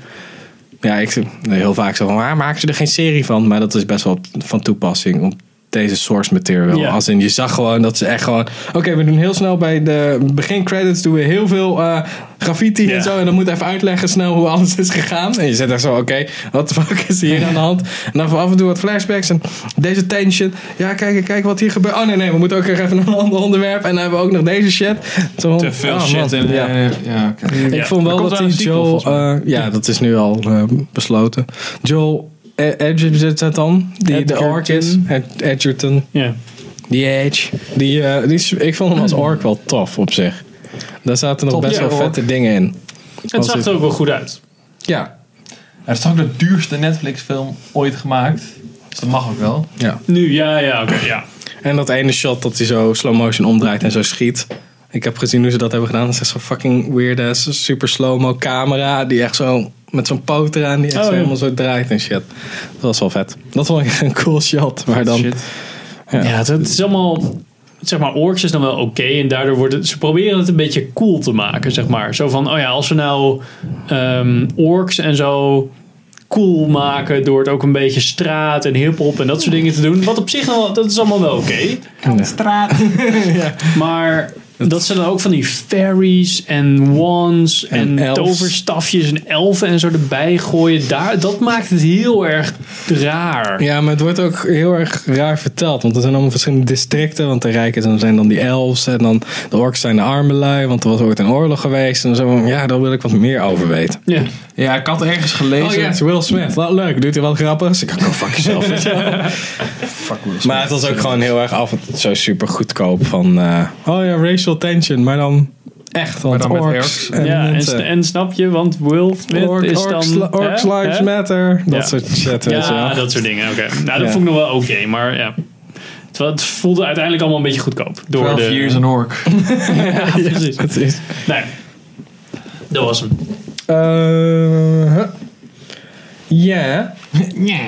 Ja, ik zeg heel vaak zo van, waar maken ze er geen serie van? Maar dat is best wel van toepassing op deze source material.
Ja.
Als in, je zag gewoon dat ze echt gewoon... Oké, we doen heel snel bij de begin credits doen we heel veel eh, graffiti
Ja.
en zo. En dan moet je even uitleggen snel hoe alles is gegaan. En je zit echt zo, oké, wat de fuck is hier aan de hand? En dan af en toe wat flashbacks en deze tension. Ja, kijk, kijk wat hier gebeurt. Oh nee, nee, we moeten ook nog even een ander onderwerp. En dan hebben we ook nog deze shit. Zo,
Te veel
oh,
shit
man.
in.
Ja.
Ja, ja oké.
Ik
Ja.
vond
Er
wel
komt
dat
wel
die
een sequel,
Joel...
volgens
eh, ja, dat is nu al eh, besloten. Joel E- Edgerton dan? Die de ork is. Ed- Edgerton.
Ja.
Die Edge. Die, eh, die is- ik vond hem als ork wel tof op zich. Daar zaten nog
Top,
best
ja,
wel
ork.
vette dingen in.
Het zag
het-
er ook wel goed uit.
Ja.
Het is toch ook de duurste Netflix-film ooit gemaakt. Dus dat mag ook wel.
ja.
Nu, ja, ja, oké, ja.
En dat ene shot dat hij zo slow motion omdraait en zo schiet. Ik heb gezien hoe ze dat hebben gedaan. Dat is echt zo'n fucking weird ass, super slow-mo camera. Die echt zo met zo'n poot eraan. Die echt
Oh,
zo
ja.
helemaal zo draait en shit. Dat was wel vet. Dat vond ik een cool shot. Maar dan...
Shit.
Ja,
Ja.
het, het is allemaal... Zeg maar, orks is dan wel oké. en daardoor wordt het... Ze proberen het een beetje cool te maken, zeg maar. Zo van, oh ja, als we nou ehm, orks en zo cool maken... door het ook een beetje straat en hiphop en dat soort dingen te doen. Wat op zich, dan wel- dat is allemaal wel oké.
Straat.
Maar dat ze dan ook van die fairies en wands en,
En elves.
toverstafjes en elfen en zo erbij gooien. Daar, dat maakt het heel erg raar.
Ja, maar het wordt ook heel erg raar verteld. Want er zijn allemaal verschillende districten. Want de rijken dan zijn dan die elves. En dan de orks zijn de armelui. Want er was ooit een oorlog geweest. En zo, ja, daar wil ik wat meer over weten.
Ja.
Ja, ik had ergens gelezen.
Oh ja, het is Will Smith. Wat leuk. Doet hij wat grappigs? Ik kan gewoon fuck jezelf. weet je wel.
Fuck Will Smith.
maar het was ook gewoon heel erg af en toe zo super goedkoop. Van, eh, oh ja, racial tension. Maar dan echt. Want
Maar dan met
orks
orks.
en
ja, en,
mensen.
s- en snap je, want Will Smith
Ork-
is
orks,
dan...
li- orks
hè?
lives
Hè?
matter. Dat
Ja.
soort shit, weet je
Ja,
wel.
dat soort dingen. Oké. Nou, dat
Ja.
vond ik nog wel oké, maar ja. Terwijl het voelde uiteindelijk allemaal een beetje goedkoop. Door
12
de,
years an orc. Ah,
Ja, precies.
Dat is...
Nee. Dat was hem.
Eh, huh. Ja,
Ja.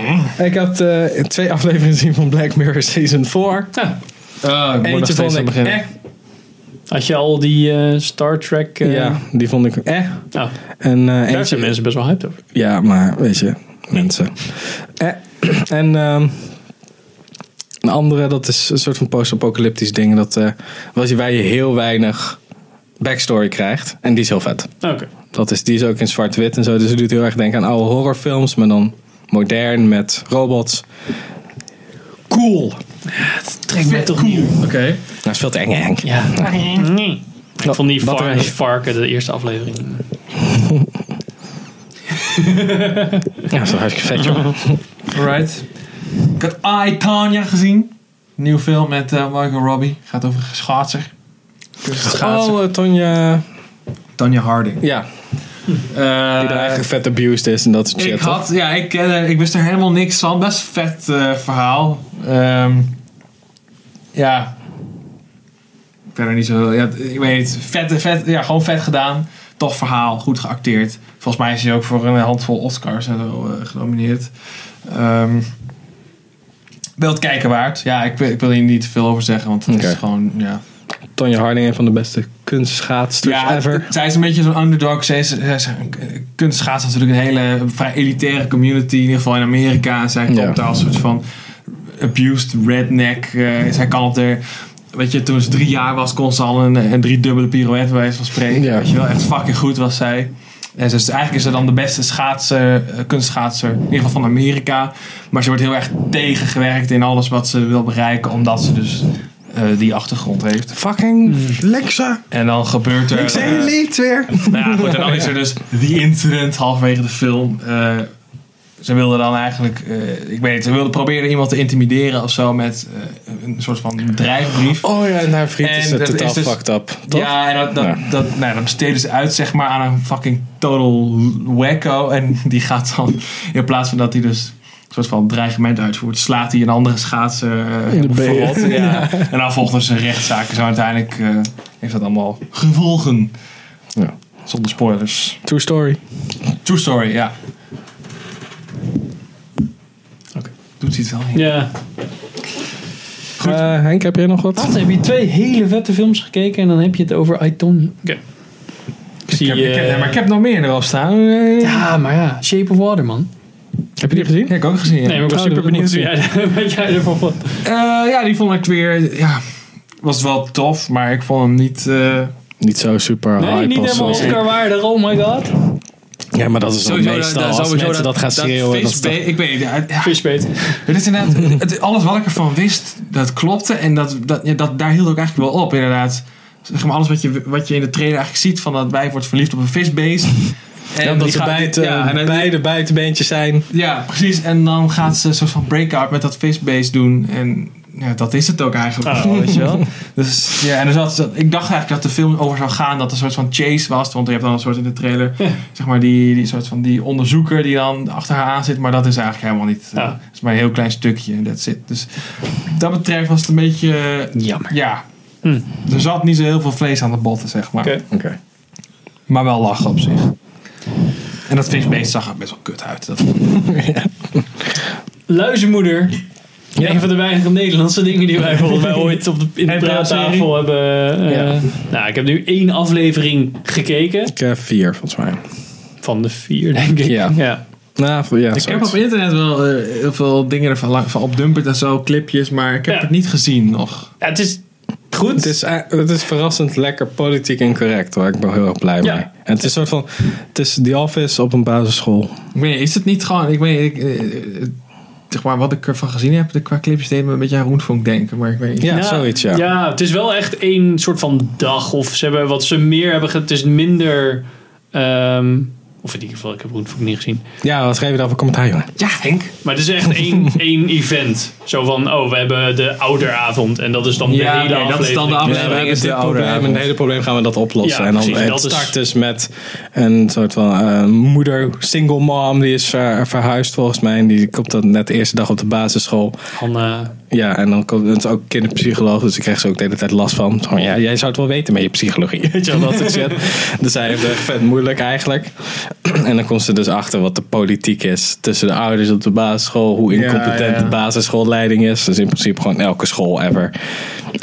ik had eh, twee afleveringen gezien van Black Mirror Season 4.
Ja.
Ah, ik moet nog
Eentje
steeds
vond
aan
ik
beginnen.
eh.
Had je al die eh, Star Trek... eh,
Ja, die vond ik eh.
Nou,
En eh,
daar zijn
eentje...
mensen best wel hyped over.
Ja, maar weet je, mensen. Eh. En ehm, een andere, dat is een soort van post-apocalyptisch ding. Dat, eh, waar je- waar je heel weinig backstory krijgt. En die is heel vet.
Oké.
Dat is, die is ook in zwart-wit en zo. Dus het doet heel erg denken aan oude horrorfilms, maar dan modern met robots.
Cool.
Het trekt mij toch niet.
Oké.
Nou, is veel te eng. eng.
Ja. Nee. Ik vond die
Wat
var-
er-
varken, de eerste aflevering.
Ja, dat is wel hartstikke vet, joh.
Alright. Ik had I, Tanya gezien. Nieuw film met eh, Margot Robbie. Gaat over een schaatser. Schaatser.
Oh, eh, Tonja.
Tanya Harding.
Ja, die daar
Eh
eigenlijk vet abused is en dat soort shit.
ik
toch?
had, ja, ik, ken- ik wist er helemaal niks van. Best vet eh, verhaal. Ehm, ja. Ik ben er niet zo. Ja, ik weet niet. Vet, vet, ja, gewoon vet gedaan. Tof verhaal. Goed geacteerd. Volgens mij is hij ook voor een handvol Oscars en zo, eh, genomineerd. Ehm wel het kijken waard. Ja, ik, wil- ik wil hier niet te veel over zeggen, want het is
Oké.
gewoon. Ja,
Tonja Harding, een van de beste kunstschaatsters
ja,
ever.
Zij is een beetje zo'n underdog. Zij is, zij is, kunstschaats is natuurlijk een hele vrij elitaire community, in ieder geval in Amerika. En zij komt
Ja.
daar als soort van abused redneck. eh, zij kan op de. Weet je, toen ze drie jaar was, kon ze al een, een driedubbele pirouette bij wijze van spreken.
Ja.
Weet je wel, echt fucking goed was zij. En ze is, eigenlijk is ze dan de beste schaatser, eh, kunstschaatser, in ieder geval van Amerika. Maar ze wordt heel erg tegengewerkt in alles wat ze wil bereiken, omdat ze dus eh, die achtergrond heeft.
Fucking Lexa.
En dan gebeurt er... eh,
niet weer.
nou ja, goed, en dan is er dus The Incident halverwege de film. Eh, ze wilden dan eigenlijk, eh, ik weet niet, ze wilden proberen iemand te intimideren of zo met eh, een soort van dreigbrief.
Oh ja, en haar vriend is
En
eh,
dat
totaal
is dus-
fucked up. Toch?
Ja, en dat, dat,
Ja.
Dat, nou ja, dan besteden ze uit zeg maar aan een fucking total wacko. En die gaat dan, in plaats van dat hij dus een soort van dreigement uitvoert, slaat hij een andere schaatser eh,
In de been.
verrot. Ja. En dan volgt dus een rechtszaak. En zo uiteindelijk eh, heeft dat allemaal gevolgen.
Ja.
Zonder spoilers.
True story.
True story, ja. Doet hij het wel?
Ja.
Eh, Henk, heb jij nog wat?
Wat, heb je twee hele vette films gekeken en dan heb je het over Aiton. Oké. Ik zie...
Ik heb, ik heb-
eh,
nee, maar ik heb nog meer erop staan. Ja,
Ja, maar ja. Shape of Water, man.
Heb je die gezien?
heb ik ook gezien. Ja,
Nee, maar ik was
Oh, dat
super
heb ik
benieuwd
niet
wat jij, wat jij ervan vond.
Eh, ja die vond ik weer. Ja, was wel tof, maar ik vond hem niet. eh,
Niet zo super
Nee,
hype
niet
of
helemaal
zo.
Oscar waardig. Oh my god.
Ja, maar dat is dan meestal als mensen dat gaan schreeuwen. Dat is
visbe- ik weet niet. ja, ja,
Fishbait.
het is inderdaad, het, alles wat ik ervan wist, dat klopte. En dat, dat, ja, dat, daar hield ik eigenlijk wel op, inderdaad. Zeg maar, alles wat je, wat je in de trailer eigenlijk ziet, van dat wij wordt verliefd op een visbeest. En
toch- ja,
die
dat ze
gaat-
bijt,
ja, en
eh,
dan-
beide buitenbeentjes zijn.
Ja, precies. En dan gaat ze een soort van breakout met dat face-base doen. En ja, dat is het ook eigenlijk.
Oh.
Ah, Weet je wel? Dus ja, en dus dat, ik dacht eigenlijk dat de film over zou gaan dat er een soort van chase was. Want je hebt dan een soort in de trailer, zeg maar, die, die soort van die onderzoeker die dan achter haar aan zit. Maar dat is eigenlijk helemaal niet. eh,
Ja.
Het is maar een heel klein stukje en that's it. Dus wat dat betreft was het een beetje. eh,
Jammer.
Ja.
Hm.
Er zat niet zo heel veel vlees aan de botten, zeg maar.
Oké.
Oké.
Maar wel lachen op zich. En dat visbeest zag er best wel kut uit. Dat
Luizenmoeder. Een van de weinige Nederlandse dingen die wij volgens mij ooit op de, in de
Heb je dat
praattafel hebben. eh,
Ja.
Nou, ik heb nu één aflevering gekeken.
Ik heb vier, volgens mij.
Van de vier, denk ik.
Ja.
ja.
Nou, v- ja,
Ik heb
zoiets.
op internet wel eh, heel veel dingen ervan lang- van op Dumpert en zo, clipjes, maar ik heb
Ja.
het niet gezien nog.
Ja, het is goed.
Het is, eh, het is verrassend lekker politiek incorrect hoor. Ik ben heel erg blij
Ja.
mee. En het is een soort van. Het is The Office op een basisschool.
Ik weet niet, is het niet gewoon, ik weet niet, ik, eh, eh, zeg maar, wat ik ervan gezien heb de- qua clipjes deed me een beetje aan Roenvonk denken, maar ik weet niet.
Ja, zoiets, ja.
Ja, het is wel echt één soort van dag. Of ze hebben wat ze meer hebben. ge- Het is minder. ehm, of in ieder geval, ik heb Roenvoek niet gezien.
Ja, wat schreef je daarvoor commentaar, jongen?
Ja, Henk.
Maar het is echt één, één event. Zo van, oh, we hebben de ouderavond. En dat is dan de
Ja,
hele
oké,
aflevering.
dat is dan de
We
aflevering.
hebben
is de
dit
oude
probleem en
avond.
het hele probleem gaan we dat oplossen.
Ja,
en dan
precies,
het
dat is-
start dus met een soort van eh, moeder, single mom, die is ver- verhuisd volgens mij. En die komt dan net de eerste dag op de basisschool.
Hanna.
Ja, en dan komt het is ook kinderpsycholoog, dus ik kreeg ze ook de hele tijd last van. Van, ja, jij zou het wel weten met je psychologie. Weet je wel, dat soort shit. Dus zij heeft het echt vet moeilijk eigenlijk. En dan komt ze dus achter wat de politiek is tussen de ouders op de basisschool, hoe incompetent
Ja, ja.
de basisschoolleiding is. Dus in principe gewoon elke school ever.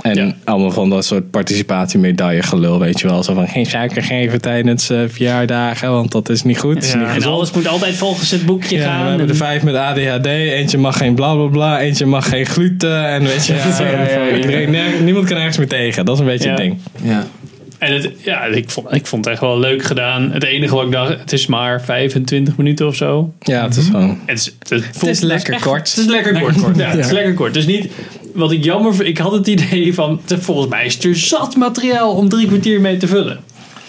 En
Ja.
allemaal van dat soort participatiemedaille gelul, weet je wel. Zo van geen suiker geven tijdens eh, verjaardagen, want dat is niet goed. is niet
En alles moet altijd volgens het boekje
ja,
gaan.
we hebben
en-
er vijf met ADHD. Eentje mag geen bla bla bla. Eentje mag geen gluten. En weet je,
Ja,
zo,
ja, ja, ja.
iedereen- nee, niemand kan ergens meer tegen. Dat is een beetje
Ja.
het ding.
Ja.
En het, ja, ik vond, ik vond het echt wel leuk gedaan. Het enige wat ik dacht, het is maar 25 minuten of zo.
Ja, het is gewoon.
Het is, het, het
Het
voelt-
is lekker
echt-
kort.
Het is lekker kort. Ja, het is
Ja.
lekker kort. Dus niet wat ik jammer vind. Ik had het idee van, te- volgens mij is er zat materiaal om drie kwartier mee te vullen.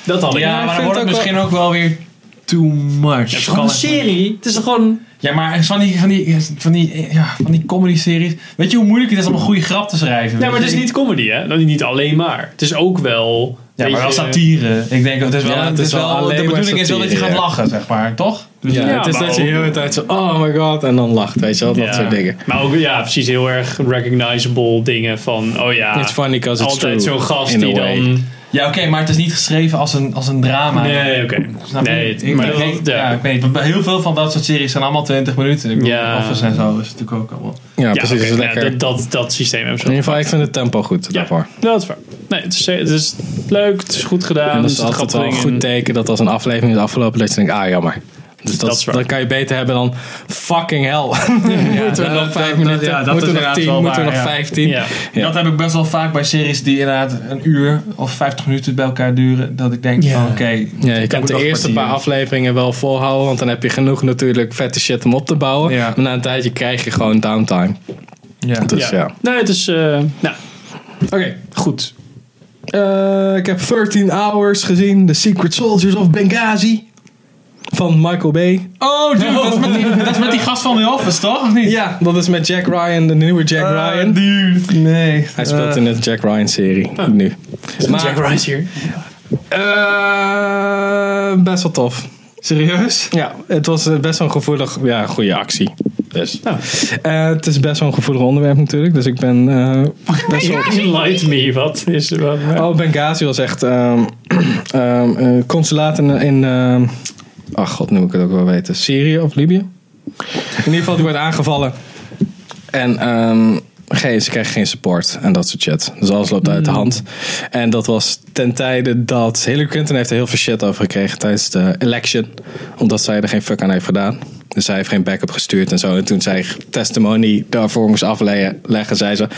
Dat had ik.
Ja,
ik
maar dan
vind
wordt
het
het
ook
misschien ook wel weer too much.
het is gewoon een serie. Het is toch gewoon.
Ja, maar van die, van die, van die, ja, van die comedy-series. Weet je hoe moeilijk het is om een goede grap te schrijven?
Nee, maar
Weet
het is
je?
niet comedy, hè? Dat is Niet alleen maar. Het is ook wel.
Ja,
weet
maar wel
je,
satire. Ik denk, het is wel,
Ja,
het is wel,
alleen
de
maar
bedoeling is wel dat je
satire,
gaat
ja.
lachen, zeg maar, toch?
Ja,
Ja,
het is
maar
dat je
ook-
de hele tijd zo, oh my god, en dan lacht, weet je wel, dat
ja.
soort dingen.
Maar ook, ja, precies heel erg recognizable dingen van, oh ja.
It's funny because it's
Altijd
true,
zo'n gast
in a
die
way.
dan.
Ja, oké, maar het is niet geschreven als een, als een drama.
Nee, oké.
Ah, Snap je?
Nee,
ik,
maar
ik
dat-
denk-
ja.
ja. ik weet niet. want Heel veel van dat soort series zijn allemaal 20 minuten. Ik bedoel,
Ja.
Office en zo is natuurlijk ook allemaal.
Ja,
Ja,
precies,
oké,
het is
ja,
lekker.
dat, dat, dat systeem hebben ze
in
wel.
ieder geval, ik vind het tempo goed daarvoor.
Ja, dat is waar. Nee, het is, het is leuk, dus het is goed gedaan.
en
er
dat is
zitten
altijd wel
grappige
een
dingen
goed
in.
teken dat als een aflevering is afgelopen, dat je denkt, ah jammer. Dus dat,
Dat is waar.
dat kan je beter hebben dan fucking hell. moeten we
dat-
nog vijf
dat-
minuten,
ja,
moeten we
dat is
nog
inderdaad
tien,
wel
moeten we
waar,
nog
ja.
vijftien.
Ja.
Ja.
Dat heb ik best wel vaak bij series die inderdaad een uur of 50 minuten bij elkaar duren. Dat ik denk
Ja.
van oké.
Ja, je
ik
kan
heb
de
nog
eerste
kwartier.
paar afleveringen wel volhouden, want dan heb je genoeg natuurlijk vette shit om op te bouwen.
Ja.
Maar na een tijdje krijg je gewoon downtime.
Ja.
Dus ja.
Nee, het is. eh, nou,
Oké, goed. Eh, ik heb 13 Hours gezien, The Secret Soldiers of Benghazi van Michael Bay.
Oh, dude, dat, is met die, dat is met die gast van The Office, toch? Of niet?
Ja, dat is met Jack Ryan, de nieuwe Jack
Ah,
Ryan.
dude. Nee.
Hij speelt in de Jack Ryan serie nu. Maar,
Jack Rice hier.
eh, best wel tof.
Serieus?
Ja, het was eh, best wel een gevoelig, ja, goede actie. Dus.
Nou.
Eh, het is best wel een gevoelig onderwerp natuurlijk, dus ik ben eh, best wel...
Enlight me, wat is er wat?
Oh, Benghazi was echt ehm ehm, eh, consulaat in... in ehm, ach god, nu moet ik het ook wel weten. Syrië of Libië? In ieder geval, die werd aangevallen. En ehm, geen, ze kregen geen support en dat soort shit. Dus alles loopt
Hmm.
uit de hand. En dat was ten tijde dat... Hillary Clinton heeft er heel veel shit over gekregen tijdens de election. Omdat zij er geen fuck aan heeft gedaan. Dus zij heeft geen backup gestuurd en zo. En toen zij testimony daarvoor moest afleggen, zei ze...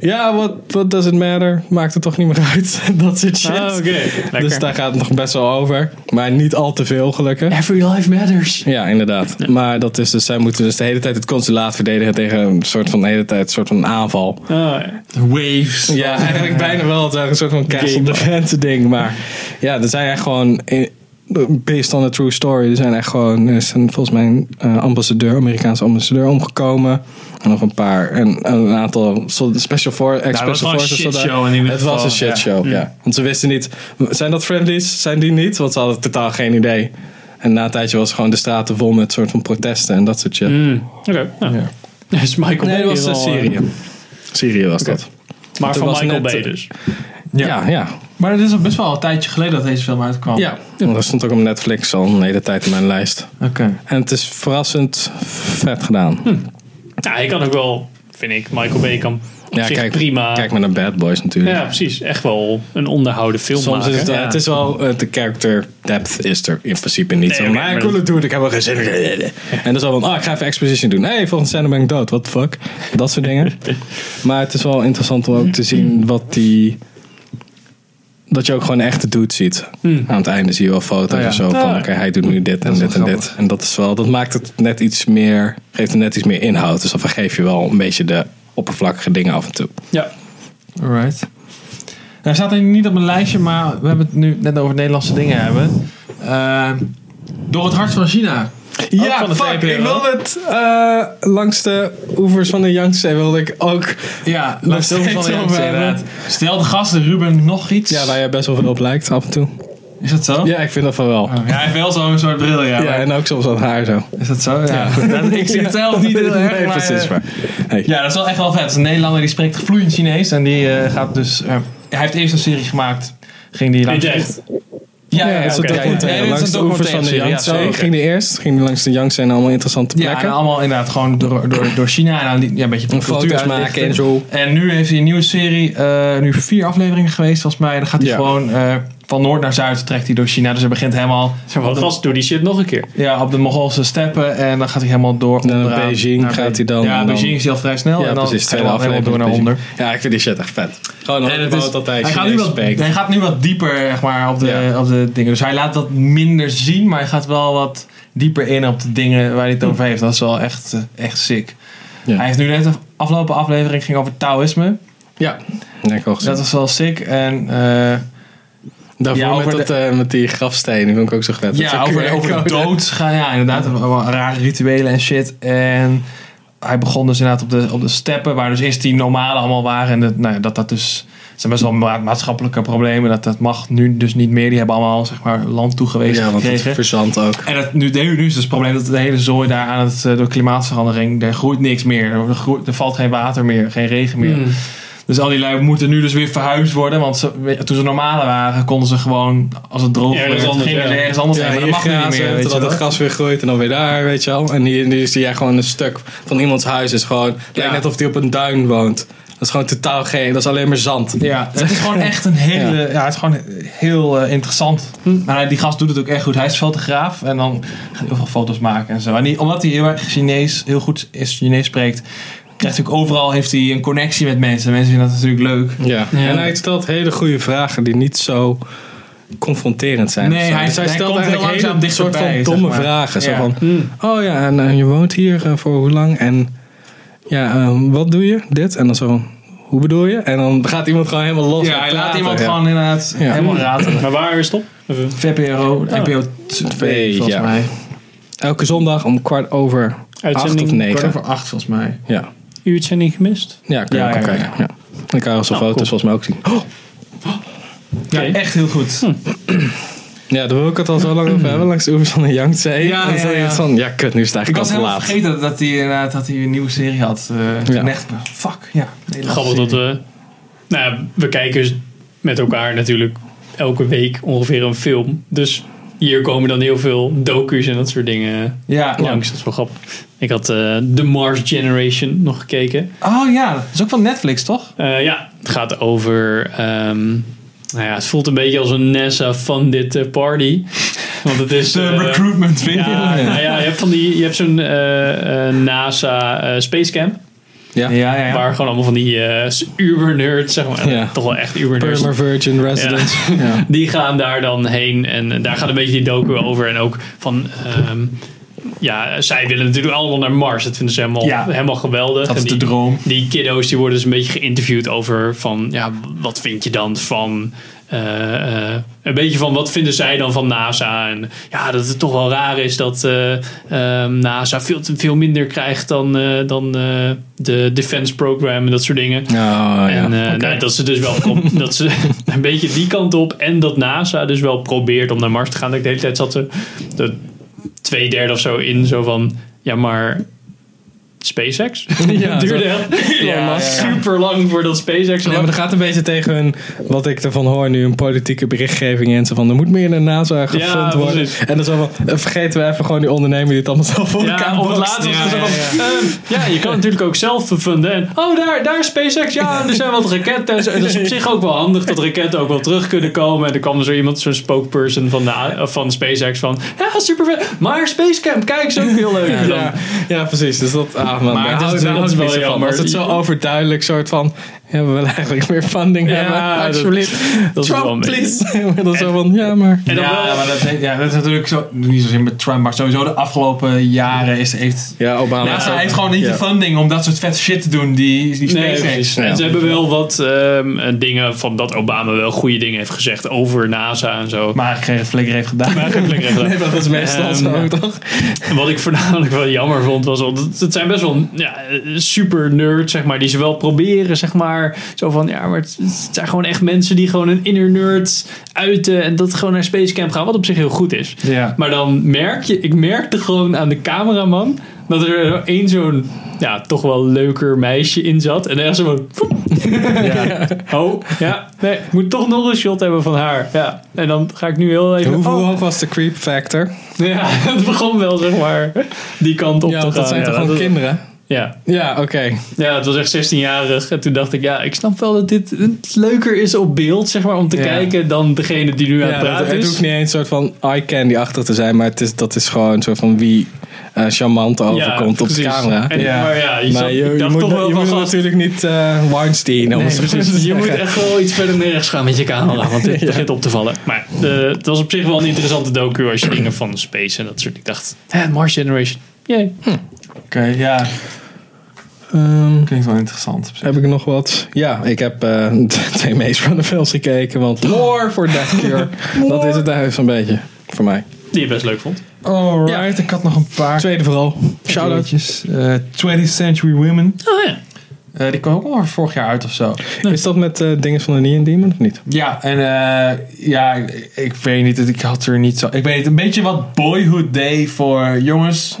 Ja, what, what does it matter? Maakt het toch niet meer uit. dat soort shit.
Ah, oké. Lekker.
Dus daar gaat het nog best wel over. Maar niet al te veel, gelukkig.
Every life matters.
Ja, inderdaad. Maar dat is dus, zij moeten dus de hele tijd het consulaat verdedigen tegen een soort van, de hele tijd, een soort van aanval.
Ah, ja.
Waves.
Ja, eigenlijk bijna wel. Het is eigenlijk een soort van castle
Game.
defense ding. Maar ja, er zijn echt gewoon, in- based on a true story, er zijn echt gewoon, er is een, volgens mij een eh, ambassadeur, Amerikaanse ambassadeur omgekomen. En nog een paar, en, en een aantal solda- special, for, ex
het Nou, was
special
gewoon een
forces soldaten.
shitshow in ieder
Het was
geval,
een shit
ja. Mm.
show, ja. Want ze wisten niet, zijn dat friendlies? Zijn die niet? Want ze hadden totaal geen idee. En na een tijdje was gewoon de straten vol met soort van protesten en dat soort shit.
Mm, Oké. nou.
Ja.
Dat is Michael
Nee,
Bay.
dat was eh,
wel, eh,
Syrië. Syrië was dat.
Maar
Toen
van
was
Michael
net,
Bay
eh,
dus.
Ja, ja. ja.
Maar het is al best wel een tijdje geleden dat deze film uitkwam.
Want Oh. dat stond ook op Netflix al een hele tijd in mijn lijst.
Oké.
En het is verrassend vet gedaan.
Nou, hij kan ook wel, vind ik, Michael Bay kan op
Ja,
zich
kijk,
prima.
Kijk maar naar Bad Boys natuurlijk.
ja, precies. Echt wel een onderhouden film
Soms
maken.
is het, wel-
Ja.
het is wel, eh, de character depth is er in principe niet.
Nee,
zo.
oké,
maar ik
maar
wil
dat-
het doen, ik heb er geen zin in. En dan zo van, ah, ik ga even exposition doen. Hé, hey, volgens scène ben ik dood, what the fuck. Dat soort dingen. maar het is wel interessant om ook te zien wat die... Dat je ook gewoon echt de dude ziet. Aan het einde zie je wel foto's
Oh ja.
en zo van,
Ah.
oké, hij doet nu dit en
is wel
dit en dit.
grappig.
En dat is wel, dat maakt het net iets meer, geeft het net iets meer inhoud. Dus dan vergeef je wel een beetje de oppervlakkige dingen af en toe.
Ja.
Alright. Nou, Hij staat er niet op mijn lijstje, maar we hebben het nu net over Nederlandse dingen hebben. Eh, door het hart van China.
Ja,
van de
fuck.
VPRO.
Ik wilde het eh, langs de oevers van de Yangtze wilde ik ook.
Ja,
Nog
laat stil
steeds
van de
over
Jansen,
hebben.
inderdaad. eh, Stel de gasten Ruben nog iets.
Ja, waar je best wel veel op lijkt af en toe.
Is dat zo?
Ja, ik vind dat van wel.
Ja, hij heeft wel zo'n soort bril, ja.
Ja,
maar-
en ook soms dat haar zo.
Is dat zo? Ja. goed. Dat- Ik zie het zelf niet heel erg.
Nee,
maar,
precies.
eh,
Maar. Hey.
Ja, dat is wel echt wel vet. Het is Een Nederlander die spreekt vloeiend Chinees en die eh, gaat dus... eh, hij heeft eerst een serie gemaakt. Ging die langs...
Niet echt.
Ja,
Ja, dat is een
oké.
documentaire.
Nee, dit
Langs
is
de
een
oevers van de
documentaire,
Yangtze.
ja, zeker.
ging die eerst, ging die langs de Yangtze en allemaal interessante
Ja, en
plekken.
allemaal inderdaad gewoon door, door, door China en dan die- ja, een beetje de cultuur
Foto's
uitlichten.
maken en zo.
En nu heeft hij een nieuwe serie, eh, nu vier afleveringen geweest volgens mij. Dan gaat hij
Ja.
gewoon eh, van noord naar zuid trekt hij door China. Dus hij begint helemaal
Zo van, gast, doe die shit nog een keer.
ja, op de Mongoolse steppen. En dan gaat hij helemaal door.
Naar
onderaan,
Beijing
naar
gaat
Be-
hij dan,
Ja,
en dan-
Beijing is heel vrij snel. en dan gaat hij
tweede
al helemaal
aflevering
door naar
is
onder.
bezig. Ja, ik vind die shit echt vet. Gewoon
En het
opgebouwd
is-
dat hij,
hij, gaat nu
Chinees
wat,
spreekt.
hij gaat nu wat dieper zeg maar, op, de,
Ja.
op de dingen. Dus hij laat dat minder zien, maar hij gaat wel wat dieper in op de dingen waar hij het over heeft. Dat is wel echt, eh, echt sick.
Ja.
Hij heeft nu net de afgelopen aflevering ging over Taoïsme.
Ja, dat heb ik al gezien.
Dat was wel sick. En eh,
Daarvoor
Ja,
met,
over
dat, eh, met die grafstenen vond ik ook zo vet. Dat
ja,
is ook
over,
weer
over
code.
dood gaan. Ja, inderdaad. wel Rare rituelen en shit. En hij begon dus inderdaad op de, op de steppen, waar dus eerst die normalen allemaal waren. En dat, nou ja, dat dat dus. Het zijn best wel ma- maatschappelijke problemen. Dat, dat mag nu dus niet meer. Die hebben allemaal zeg maar, land toegewezen
Ja, want het
gekregen.
verzandt ook.
En dat, nu, nu is dus het probleem dat de hele zooi daar aan het, eh, door klimaatverandering, er groeit niks meer. Er, groeit- er valt geen water meer, geen regen meer.
Hmm.
Dus al die lui moeten nu dus weer verhuisd worden. Want ze, we- toen ze normale waren, konden ze gewoon, als het droog
Ergens
werd,
anders,
gingen
ja.
ze ergens anders heen.
Ja,
Maar
hier
dat mag nu niet
grazen,
meer. Weet je
totdat
wel.
het gras weer groeit en dan weer daar, weet je wel. En hier, nu zie jij gewoon een stuk van iemands huis. is gewoon, het lijkt net of die op een duin woont. Dat is gewoon totaal geen, dat is alleen maar zand.
Ja, het is gewoon echt een hele. Ja, het is gewoon heel eh, interessant. Maar hij- die gast doet het ook echt goed. Hij is fotograaf en dan gaat hij heel veel foto's maken en zo. En die, omdat hij heel erg Chinees, heel goed is Chinees spreekt, krijgt hij ook overal heeft hij een connectie met mensen. Mensen vinden dat natuurlijk leuk.
Ja.
Ja.
En hij stelt hele goede vragen die niet zo confronterend zijn.
Nee,
of zo.
hij-
dus hij
hij
stelt
komt heel
eigenlijk
langzaam
hele soort van
dichterbij, zeg
domme
maar.
vragen. Zo
Ja.
van,
Hmm.
oh ja, en eh, je woont hier eh, voor hoe lang? En ja, eh, wat doe je? Dit? En dan zo, van, hoe bedoel je? En dan gaat iemand gewoon helemaal los.
Ja,
en
hij laat
praten,
iemand
ja.
gewoon inderdaad
Ja.
helemaal raten.
Maar waar is het op? Even-
VPRO, NPO 2 volgens
ja.
mij.
Elke zondag om kwart over acht of
Uitzending,
Kwart
negen.
over acht volgens mij.
Ja.
Uitzending gemist.
Ja, kun je
Ja,
ook
ja,
al
ja.
kijken. Ja. Dan kan je als een
Nou,
foto's volgens mij ook zien.
Ja,
Oké. Hm.
echt heel goed.
Ja, daar wil ik het al zo lang over hebben. Langs de oevers van de Yangtze.
Ja,
En dan
ja,
zul je
ja.
het van, ja kut, nu is het
Ik
eigenlijk
was
al te
helemaal
laat.
vergeten dat hij inderdaad dat hij een nieuwe serie had. eh
Ja.
Echt, fuck, ja. Nederlandse
Grappig
serie.
dat eh, we... Nou ja, we kijken dus met elkaar natuurlijk elke week ongeveer een film. Dus hier komen dan heel veel docu's en dat soort dingen
Ja,
langs. Dat is wel grappig. Ik had eh The Mars Generation nog gekeken.
Oh ja, dat is ook van Netflix, toch?
Eh, ja, het gaat over... ehm, nou ja, het voelt een beetje als een NASA-funded eh, party. Want het is... eh,
recruitment video.
ja, nou ja, je hebt, van die, je hebt zo'n eh, eh, NASA eh, Space Camp.
Ja.
ja, ja.
Waar gewoon allemaal van die eh uber-nerds, zeg maar.
Ja.
Toch wel echt uber-nerds.
Perma Virgin Residence. Ja.
Die gaan daar dan heen en eh, daar gaat een beetje die docu over. En ook van, ehm, ja, zij willen natuurlijk allemaal naar Mars. Dat vinden ze helemaal,
Ja.
helemaal geweldig.
Dat
En
is de
die,
droom.
die kiddo's die worden dus een beetje geïnterviewd over van, ja, wat vind je dan van... eh, eh, een beetje van wat vinden zij dan van NASA? En ja, dat het toch wel raar is dat eh, ehm, NASA veel, te- veel minder krijgt dan, eh, dan eh, de Defense Program en dat soort dingen.
Oh, ja.
En eh,
Oké.
nou, dat ze dus wel pro- dat ze een beetje die kant op en dat NASA dus wel probeert om naar Mars te gaan. Dat ik de hele tijd zat er de twee derde of zo in, zo van ja, maar SpaceX
Ja,
Het duurde heel
Ja, ja,
lang,
ja.
super lang voordat SpaceX.
Ja, maar dat gaat een beetje tegen hun, wat ik ervan hoor nu, een politieke berichtgeving en zo van, er moet meer naar NASA gefund worden.
precies.
En dan zo van, eh, vergeten we even gewoon die ondernemer die het allemaal zelf voor elkaar
ja, op het
bokst.
laatste
Ja,
was het
ja,
zo van, ehm, ja, je kan natuurlijk ook zelf verfunden. En, oh, daar, daar is SpaceX. Ja, er zijn wat raketten. En zo. En dat is op zich ook wel handig dat raketten ook wel terug kunnen komen. En er kwam zo iemand, zo'n spokesperson van, de, eh, van SpaceX van... Ja, super vet. Maar Spacecamp, kijk, is ook heel leuk.
Ja,
En dan-
ja, ja, precies. Dus dat, ah man, daar
Maar het is
hou ik
natuurlijk
dus
wel
niet zo van.
jammer.
Als het zo overduidelijk soort van, ja, we willen eigenlijk meer funding
Ja,
hebben,
dat-
alsjeblieft.
dat is wel een
Trump,
beetje-
please. En dan zo van, ja, maar...
En dan
ja,
wel-
maar dat, heeft- ja, dat is natuurlijk zo, niet zozeer met Trump, maar sowieso de afgelopen jaren is heeft.
Ja, Obama.
NASA heeft gewoon niet
Ja.
de funding om dat soort vet shit te doen die, die
Nee,
SpaceX.
precies.
Ja.
En ze hebben wel wat ehm, eh, dingen van dat Obama wel goede dingen heeft gezegd over NASA en zo.
maar geen flikker heeft gedaan.
Maar eigenlijk lekker gedaan.
Nee, dat is meestal
Ehm,
zo, toch?
En Wat ik voornamelijk wel jammer vond, was dat het- het zijn best wel ja, super nerds, zeg maar, die ze wel proberen, zeg maar. Zo van, ja, maar het, het zijn gewoon echt mensen die gewoon een inner nerd uiten en dat gewoon naar Spacecamp gaan, wat op zich heel goed is.
Ja.
Maar dan merk je, ik merkte gewoon aan de cameraman dat er één zo'n, ja, toch wel leuker meisje in zat. En dan zo van, "Poep."
Ja.
oh, ja, nee, ik moet toch nog een shot hebben van haar. Ja, en dan ga ik nu heel even...
Hoeveel
oh.
hoog was de creep factor?
Ja, het begon wel, zeg maar, die kant op
Ja,
te
want
gaan.
dat zijn
Ja,
toch gewoon
is-
kinderen?
Ja.
Ja, oké.
ja, het was echt 16-jarig. En toen dacht ik, ja, ik snap wel dat dit het leuker is op beeld, zeg maar, om te
Ja.
kijken dan degene die nu aan het
Ja, dat-
praten
het
is.
hoeft niet eens een soort van eye candy achter te zijn, maar het is, dat is gewoon een soort van wie eh charmant overkomt op de
precies.
camera.
En,
Ja.
Maar ja, je,
maar
zat-
je,
ik
je
dacht
moet,
toch
na-
wel
je
van
moet
gast.
natuurlijk niet eh, Weinstein. om
Nee,
het zo
precies.
te
je
zeggen.
moet echt wel iets verder naar rechts gaan met je camera, want dit begint op te vallen. Maar eh, het was op zich wel een interessante docu als je dingen van space en dat soort. Ik dacht, hè, Mars Generation. Yay.
Oké, ja.
Ehm,
Klinkt wel interessant. op zich.
heb ik nog wat? Ja, ik heb eh, twee Maze Runner films gekeken, want lore voor Death Cure. dat is het eigenlijk zo'n beetje, voor mij.
Die je best leuk vond.
Alright, ik had nog een paar.
Tweede vooral. Shout-out.
dingetjes. Eh, 20th Century Women.
Oh ja.
Eh, die kwam ook al vorig jaar uit of zo.
Is dat met eh dingen van de Neon Demon of niet?
Ja, en eh, ja, ik, ik weet niet, ik had er niet zo... Ik weet een beetje wat Boyhood deed voor jongens,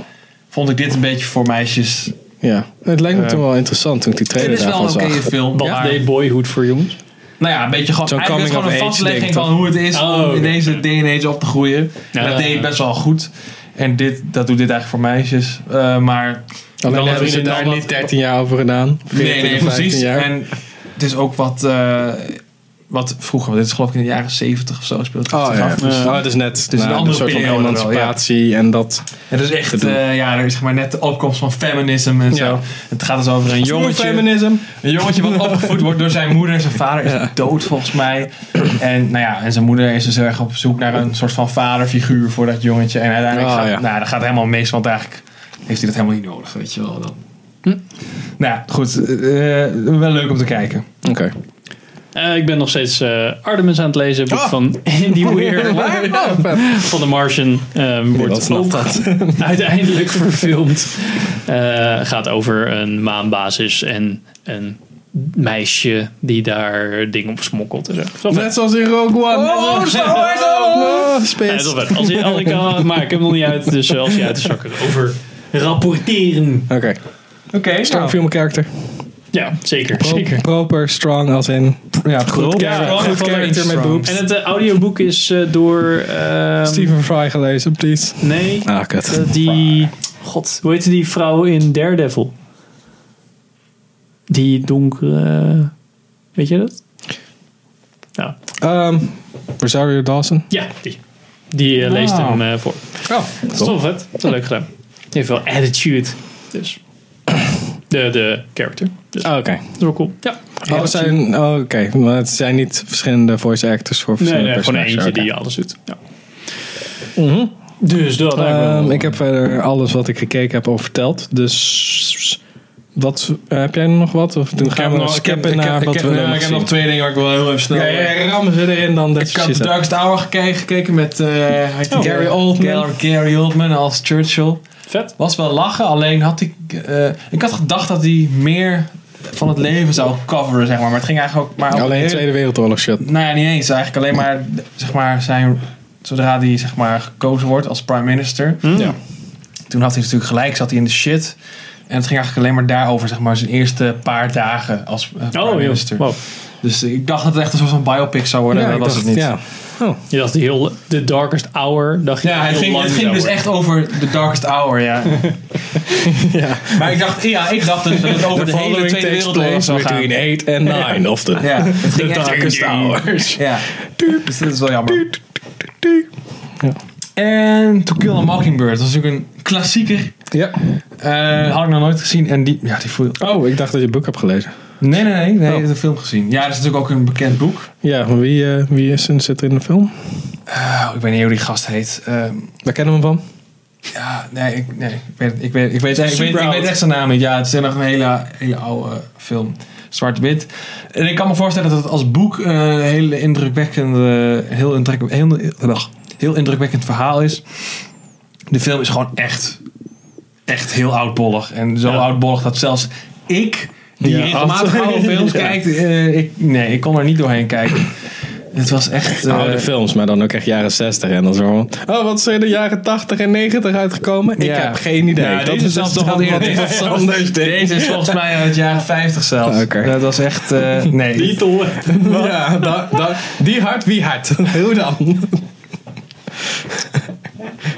vond ik dit een beetje voor meisjes.
Ja. Het lijkt me
Eh,
toen wel interessant toen ik die
Dit
trailer
is wel
daarvan
een
zag.
oké film.
Wat
ja.
deed Boyhood voor jongens?
Nou ja, een beetje gewoon,
Zo'n
eigenlijk is het
coming
gewoon een
of age
vastlegging
ding,
van
toch?
hoe het is
Oh,
om
oké.
in deze day and age op te groeien. En
Ja.
dat deed ik best wel goed. En dit, dat doet dit eigenlijk voor meisjes. Eh, maar
Alleen hebben
Dan
ze
hebben ze
daar
dan
niet
wat-
13 jaar over gedaan. 14
Nee, nee,
of 15
precies.
jaar.
En het is ook wat, eh, wat vroeger, want dit is geloof ik in de jaren 70 of zo speelt het
Oh
zich
ja,
af.
precies.
Ja.
Oh, het is net
een
nou, een,
andere
soort van
periode wel, ja.
emancipatie en dat.
Het is echt,
Gedoe.
eh, ja, er is zeg maar net de opkomst van feminisme en zo.
Ja.
Het gaat dus over een jongetje,
feminism.
een jongetje wat opgevoed wordt door zijn moeder. Zijn vader is dood volgens mij. En, nou ja, en zijn moeder is dus heel erg op zoek naar een soort van vaderfiguur voor dat jongetje. En uiteindelijk
Oh,
gaat,
ja.
nou, dat gaat helemaal mis, want eigenlijk heeft hij dat helemaal niet nodig, weet je wel. Dan.
Hm.
Nou ja, goed, eh, wel leuk om te kijken.
Oké.
Eh, ik ben nog steeds eh, Artemis aan het lezen. Boek
Oh.
van Andy Weir
Oh, vet.
van The Martian. eh,
Niemand
wordt
snapt
ook
dat.
uiteindelijk verfilmd. Eh, gaat over een maanbasis en een meisje die daar dingen op smokkelt. En zo. Zo vet.
Net zoals in Rogue One.
Oh, zo,
Oh,
Ja,
spits.
zo vet. Als, je- als ik, al- maar ik heb hem nog niet uit, dus als je uit de zakken over rapporteren.
Oké,
Oké,
strong
nou.
female character.
Ja, zeker.
Pro-
zeker.
Proper, strong als in.
Ja, goed.
char-
Ja,
goed
wel
character
eens
met
strong.
boobs.
En het eh, audioboek is eh, door. ehm,
Stephen Fry gelezen, please.
Nee,
Ah, kut.
Eh, die. God, hoe heette die vrouw in Daredevil? Die donkere. Weet je dat? Nou,
Ehm Rosario Dawson.
ja, die. Die eh, leest
Wauw.
hem eh, voor.
Oh,
Dat is wel vet. Dat is leuk gedaan. Die heeft wel attitude. Dus. De, de character. Dus
Ah.
Oh, Oké.
dat is wel cool. Ja.
Oh, zijn, oh, oké. Maar het zijn niet verschillende voice actors voor
eh,
Nee,
verschillende
nee, gewoon
personages.
eentje
Oké.
die alles doet. Ja.
Mhm.
Dus dat lijkt me wel-
Ehm, ik heb verder alles wat ik gekeken heb al verteld. Dus wat, eh, heb jij nog wat? Of dan gaan we
nog-
skippen
ik heb-
naar
ik
wat
heb-
we
nou, Ik heb nog twee dingen waar ik wel heel even snel...
Ja, ja, rammen ze erin dan. Dat
Ik had The Darkest Hour gekeken, gekeken met eh, hij heet
Oh.
Gary Oldman. Gary, Gary Oldman als Churchill.
Vet.
Was wel lachen, alleen had ik... eh, ik had gedacht dat hij meer van het leven zou coveren, zeg maar. Maar het ging eigenlijk ook maar... over
Alleen
heel-
Tweede Wereldoorlog shit.
Nou ja, niet eens. Eigenlijk alleen maar, zeg maar, zijn... Zodra hij, zeg maar, gekozen wordt als prime minister...
Ja.
Toen had hij natuurlijk gelijk, zat hij in de shit. En het ging eigenlijk alleen maar daarover, zeg maar, zijn eerste paar dagen als eh, prime
Oh,
minister.
joh. Wow.
Dus ik dacht dat het echt een soort van biopic zou worden,
Ja,
maar
ik
dat was
dacht-
het niet.
Ja.
Je dacht heel The Darkest Hour. Dacht je
Ja, het
heel
ging,
lang
het ging
zou
dus
worden.
echt over The Darkest Hour, ja.
ja.
Maar ik dacht, ja, ik dacht dus dat het over de hele Tweede Wereldoorlog zou gaan.
8 en 9 of the,
Ja, het ging echt
hours.
Ja, dus dat is wel jammer.
Ja.
En To Kill a Mockingbird, dat is natuurlijk een klassieker.
Ja.
Eh, had ik nog nooit gezien en die, ja, die voel
Oh, ik dacht dat je het boek hebt gelezen.
Nee, nee, nee, nee,
Oh.
ik heb de film gezien. Ja, dat is natuurlijk ook een bekend boek.
Ja, maar wie, eh, wie is, zit er in de film?
Oh, ik weet niet hoe die gast heet. Ehm,
Waar kennen we hem van?
ja, nee, ik, nee, ik weet het- ik weet, ik weet, ik weet, ik weet,
Super
ik
oud.
weet echt zijn naam niet. Ja, het is nog een hele, hele oude film. Zwart-wit. En ik kan me voorstellen dat het als boek eh, een hele indrukwekkende, heel, indruk, heel, ugh, heel indrukwekkend verhaal is. De film is gewoon echt, echt heel oudbollig. En zo
Ja.
oudbollig dat zelfs ik, die
Ja,
regelmatig
oud.
oude films
Ja.
kijkt, eh, ik, nee, ik kon er niet doorheen kijken. Het was echt... eh,
Oude films, maar dan ook echt jaren 60. En dan zo van, oh, wat zijn de jaren 80 en 90 uitgekomen?
Ja.
Ik heb geen idee.
Ja,
dat
deze
is
zelfs
zelfs
nog
toch
wel
wat,
eerder.
wat Sanders deed.
Deze is volgens mij uit het jaren 50 zelfs.
Ah, Oké.
Dat was echt. eh, nee.
Die tol.
Ja, da- da- die hard, wie hard? Hoe dan?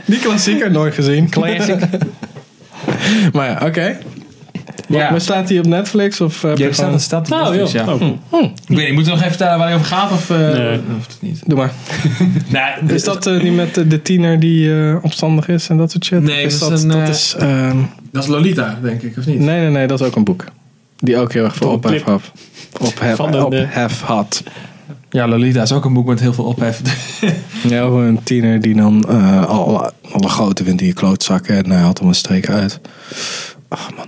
Die klassieker nooit gezien.
Classic.
Maar ja, oké.
Ja.
Maar staat die op Netflix? Of, eh, heb je
Ja, staat
gewoon-
een stad. op
Nou,
Netflix,
joh.
ja.
Oh, cool.
Ik weet niet, moeten we nog even vertellen waar hij over gaat? Of, eh,
Nee.
of het niet?
Doe maar.
Nee,
Is dat eh, die met de, de tiener die eh, opstandig is en dat soort shit?
Nee,
Is
dat is een,
dat
eh,
is, ehm,
dat is Lolita, denk ik, of niet?
nee, nee, nee, dat is ook een boek. Die ook heel erg veel
Door een
ophef
clip.
had. Ophef,
Van de-
ophef had.
Ja, Lolita is ook een boek met heel veel ophef.
Ja, gewoon een tiener die dan eh, alle, alle grote vindt in je klootzakken en hij haalt hem een streek uit. Ach man.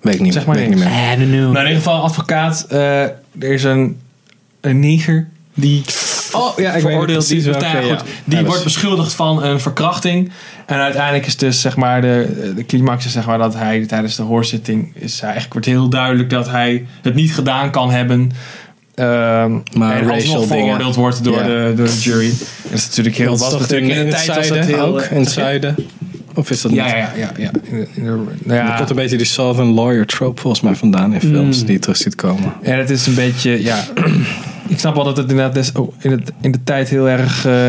Weet ik niet,
Zeg maar
weet ik niet meer.
I don't know.
Nou, in ieder geval, advocaat. eh, er is een, een neger die oh, ja,
weet
veroordeeld
precies
die,
welke,
nou ja,
ja.
goed,
Ja,
die
dat
wordt
is-
beschuldigd van een verkrachting. En uiteindelijk is dus zeg maar de, de climax is zeg maar dat hij tijdens de hoorzitting is hij eigenlijk wordt heel duidelijk dat hij het niet gedaan kan hebben. Ehm
Maar
en
racial
alsnog
dingen.
veroordeeld wordt door,
Ja.
de, door de jury. En dat is natuurlijk heel
Dat is
lastig.
toch in,
Natuurlijk
in
de
het
tijd was dat
zuiden
heel,
ook?
eh,
In het zuiden? Of is dat
Ja,
niet?
ja, ja. ja, In de- in de- nou ja.
Er komt een beetje die Southern lawyer trope volgens mij vandaan in films
Mm.
die je terug ziet komen.
En het is een beetje, ja. ik snap wel dat het inderdaad des, oh, in, het, in de tijd heel erg. eh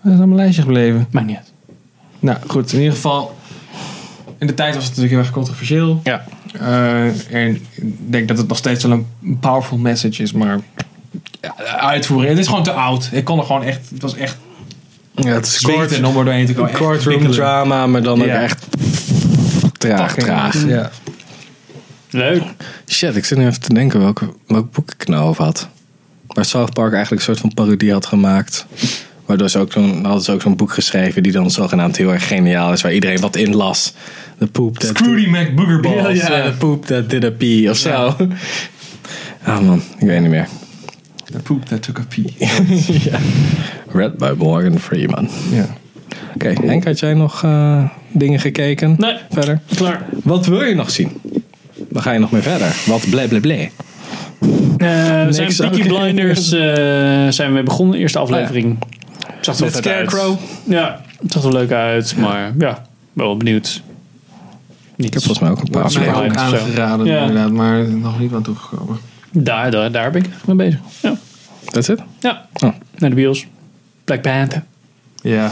wat is aan mijn lijstje gebleven?
Maakt niet uit.
Nou goed, in ieder geval. In de tijd was het natuurlijk heel erg controversieel.
Ja.
Eh, en ik denk dat het nog steeds wel een powerful message is, maar. Ja, de uitvoering. Het is gewoon te oud. Ik kon er gewoon echt. Het was echt.
Ja, het is
zweten om er doorheen te komen. Echt
courtroom
pikkelend.
drama, maar dan ook
Ja.
echt traag,
Fucking-
traag.
Ja.
Leuk.
Shit, ik zit nu even te denken welke, welk boek ik nou over had. Waar South Park eigenlijk een soort van parodie had gemaakt. Waardoor ze ook zo'n, hadden ze ook zo'n boek geschreven die dan zogenaamd heel erg geniaal is. Waar iedereen wat in las. De poep dat...
Scrooty McBoogerballs.
Ja, ja, de poep dat did a pee of zo. Ah man, ik weet niet meer.
The poop that took a pee.
Red by Morgan Freeman.
Ja.
Oké, Henk, had jij nog eh, dingen gekeken?
Nee.
Verder?
Klaar.
Wat wil je nog zien? Waar ga je nog mee verder? Wat blé blé blé.
Eh, we zijn
Niks,
Peaky
oké. Oh
Blinders eh, zijn we begonnen. Eerste aflevering. Het Zag er wel
Met
vet uit.
Scarecrow.
Ja, het zag er leuk uit. Maar ja, wel benieuwd.
Ik heb volgens mij ook een paar
Wordt mij ook
afleveringen.
Aflevering of zo.
aangeraden
Ja.
inderdaad, maar nog niet aan toegekomen.
Daar, daar, daar ben ik echt mee bezig. Ja.
Dat is het?
ja.
Oh.
Naar de bios. Black Panther.
Ja.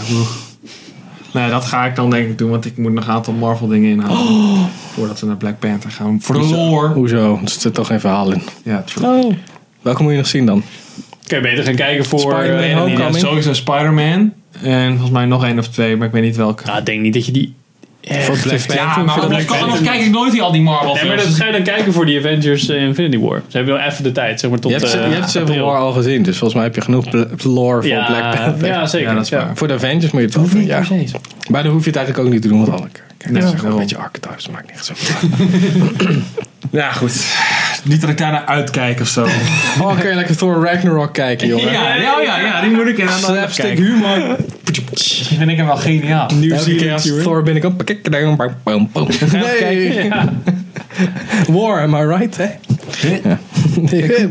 Nee, dat ga ik dan denk ik doen, want ik moet nog een aantal Marvel dingen inhalen. Voordat we naar Black Panther gaan. Voor de lore.
Hoezo? Er zit toch geen verhaal in.
Ja, true.
Oh.
Welke moet je nog zien dan?
Eh,
Kan je beter gaan kijken voor...
Spider-Man
eh,
En dan
Homecoming.
inderdaad sowieso Spider-Man. En volgens mij nog één of twee, maar ik weet niet welke.
nou, ik denk niet dat je die... echt-
Voor Black Panther.
Ja,
voor
maar
de
anders,
Black
kan-
Panther.
anders kijk ik nooit die, al die Marvel
Nee, maar
films.
dat ga je dan kijken voor die Avengers eh, Infinity War. Ze hebben wel even de tijd, zeg maar, tot
Je hebt, ze-
eh,
je hebt Civil
april.
War al gezien, dus volgens mij heb je genoeg bl- lore voor
ja,
Black Panther.
Ja, zeker.
Ja, dat is waar.
Voor de Avengers moet je het wel doen, ja.
Precies.
Maar dan hoef je het eigenlijk ook niet te doen, want alle Kijk,
Nee,
dat is gewoon een
daarom.
beetje archetypes, dat maakt niet zo
Ja, goed. Niet dat ik daarnaar uitkijk of zo.
Oh, kun je lekker Thor Ragnarok kijken, jongen.
ja, ja, ja, ja, die moet ik inderdaad nog even
Slapstick
kijken.
humor.
Die vind ik hem wel geniaal.
Nu
Elke
zie
keer
je
als-
als Thor binnenkomt. pak ik er dan, bam, bam, bam. Nee. War, am I right, hè?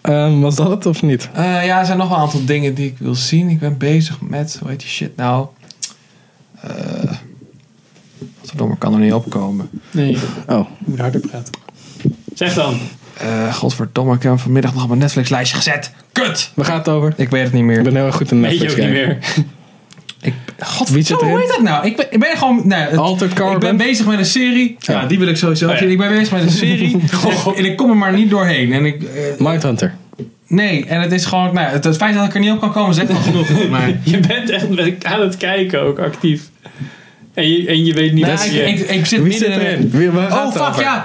Ehm, was dat het of niet?
Eh, ja, er zijn nog wel een aantal dingen die ik wil zien. Ik ben bezig met, hoe heet die shit nou? Eh, Godverdomme, ik kan er niet opkomen.
Nee, je
Oh,
moet harder praten. Zeg dan.
Eh godverdomme, ik heb hem vanmiddag nog op mijn Netflix-lijstje gezet. Kut!
waar gaat het over?
Ik weet het niet
Ik
meer.
ben heel erg goed in
Weet je
Netflix
ook niet
kijken.
meer.
Ik,
Wie zit
Zo, hoe
erin?
heet dat nou? Ik ben, ik ben gewoon... Nee, het-
Altered
ik ben
Carbon?
bezig met een serie. Ja, die wil ik sowieso
Oh ja.
zien. Ik ben bezig met een serie. en, en ik kom er maar niet doorheen. En ik, eh,
Mindhunter.
nee, en het is gewoon... Nou, het, het feit dat ik er niet op kan komen zegt al genoeg. Maar,
Je bent echt aan het kijken ook actief. En je, en je weet niet
Nou,
dat
ik,
je...
ik, ik zit
Wie
midden
zit
in een-
erin? Wie, waar gaat
Oh,
het
fuck
over?
ja.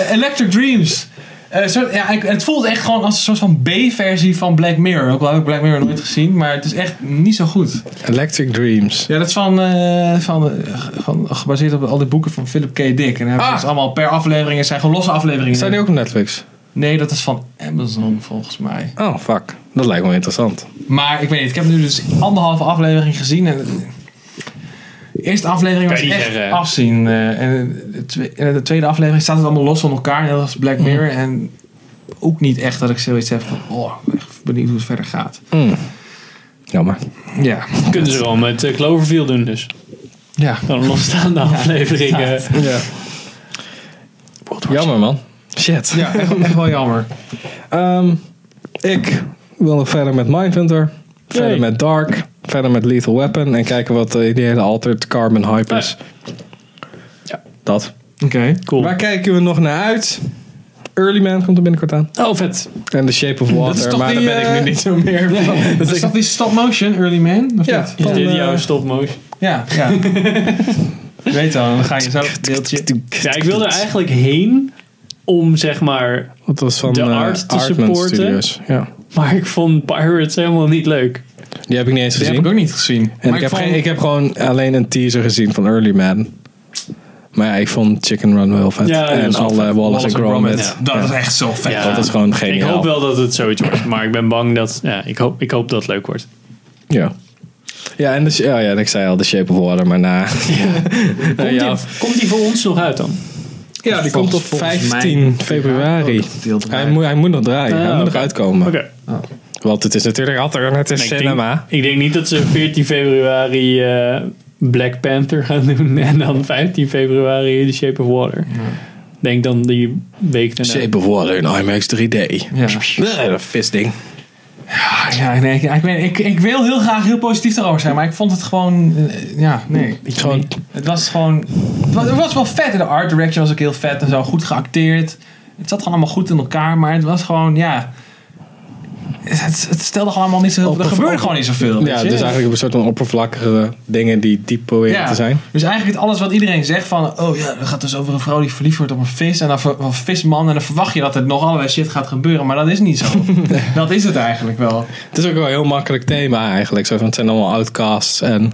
Eh, Electric Dreams. Eh, soort- ja, ik- het voelt echt gewoon als een soort van B-versie van Black Mirror. Ook al heb ik Black Mirror nooit gezien, maar het is echt niet zo goed.
Electric Dreams.
Ja, dat is van, eh, van, eh, van, gebaseerd op al die boeken van Philip K. Dick. En hebben ze
Ah.
dus allemaal per aflevering, het zijn gewoon losse afleveringen.
Zijn die ook op Netflix?
Nee, dat is van Amazon volgens mij.
Oh, fuck. Dat lijkt me interessant.
Maar ik weet niet, ik heb nu dus anderhalve aflevering gezien. En de eerste aflevering
Kan
was
je niet
echt
zeggen, hè?
afzien. eh, en, de twe- en de tweede aflevering staat het allemaal los van elkaar. Net als
Mm.
Black Mirror. En ook niet echt dat ik zoiets heb van... Oh, ik ben echt benieuwd hoe het verder gaat.
Hmm. Jammer.
Ja.
Kunnen ze wel met eh, Cloverfield doen dus.
Ja.
Dan losstaande eh. afleveringen.
Ja. Jammer, man. Shit.
Ja, echt, echt wel jammer.
Ehm, ik wil nog verder met Mindhunter. Verder
Yay.
met Dark. Verder met Lethal Weapon. En kijken wat eh, die hele Altered Carbon hype is.
Ah.
Ja. Dat. Oké.
Cool.
Waar kijken we nog naar uit? Early Man komt er binnenkort aan.
Oh, vet.
En The Shape of Water,
is toch
maar
die,
daar ben ik
eh,
nu niet zo meer van.
Dat
Dat
is
ik-
dat die stop motion, Early Man? Of
Ja.
niet?
Is
Van,
dit
eh,
jouw stop motion?
Ja, ja. Je weet al, dan ga je zo deeltje.
Ja, ik wilde er eigenlijk heen om zeg maar.
Dat was van
de
eh,
art te
Artman
supporten.
Studios. Ja.
Maar ik vond Pirates helemaal niet leuk.
Die heb ik niet eens
Die
gezien.
heb ik ook niet gezien.
En ik,
Maar
heb
vond-
geen, ik heb gewoon alleen een teaser gezien van Early Man. Maar ja, ik vond Chicken Run wel vet.
Ja, die
en
was wel
alle
vet.
Wallace, en
en
Gromit.
Gromit. Dat is echt zo vet.
Ja.
Dat is gewoon
Ik
geniaal.
hoop wel dat het zoiets wordt, maar ik ben bang dat. Ja, ik hoop, ik hoop dat het leuk wordt.
Ja. Ja, en de, sh- oh ja, en ik zei al The Shape of Water, maar na.
Komt,
ja.
die, komt die voor ons nog uit dan?
Ja, die komt op
Volgens
15
mij-
februari.
Deel erbij.
Hij moet, hij moet nog draaien,
Ah,
hij moet nog
oké.
uitkomen.
Oké.
Want het is natuurlijk alternatief
Ik denk-
cinema.
Ik denk niet dat ze 14 februari eh, Black Panther gaan doen en dan 15 februari The Shape of Water. Ik Denk dan die week daarna.
Shape of Water in IMAX 3D.
Ja.
Nee, dat visding.
Ah, Ja, nee, ik, ik, weet- ik, ik wil heel graag heel positief erover zijn, maar ik vond het gewoon. eh, ja, nee.
Ik gewoon
Het was gewoon. Het was, het was wel vet. De art direction was ook heel vet en zo. Goed geacteerd. Het zat gewoon allemaal goed in elkaar, maar het was gewoon, ja. Het, het stelde gewoon allemaal niet zo heel veel. Er
Oppervlak-
gebeurde gewoon niet zoveel.
Ja,
weet
dus
je?
eigenlijk een soort van oppervlakkige dingen die diep proberen
Ja.
te zijn.
Dus eigenlijk het alles wat iedereen zegt van... Oh ja, het gaat dus over een vrouw die verliefd wordt op een vis. En dan ver- een visman. En dan verwacht je dat er nog allerlei shit gaat gebeuren. Maar dat is niet zo. Dat is het eigenlijk wel.
Het is ook wel een heel makkelijk thema eigenlijk. Zo van, het zijn allemaal outcasts en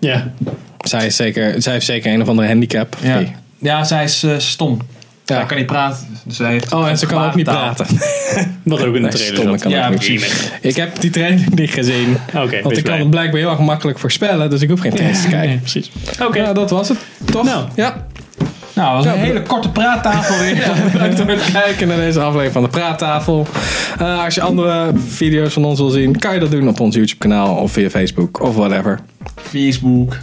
Ja.
zij, is zeker, zij heeft zeker een of andere handicap.
Ja,
Die-
ja zij is eh, stom.
Ja.
Zij kan niet praten. Dus zij heeft
Oh, en ze kan ook niet
gebarentaal.
praten.
Wat ook in de
Nee,
trailer
stom,
zat.
dat kan
Ja,
ook niet.
precies.
Ik heb die trailer niet gezien.
Oké,
Want
wees
ik kan
blij.
het blijkbaar heel erg makkelijk voorspellen, dus ik hoef geen trailers te kijken.
Nee, precies. Oké.
Ja, dat was het. Toch?
Nou.
Ja.
Nou, dat was een
Ja,
hele korte praattafel weer.
Bedankt voor het kijken naar deze aflevering van de Praattafel. Eh, als je andere video's van ons wil zien, kan je dat doen op ons YouTube kanaal of via Facebook of whatever.
Facebook.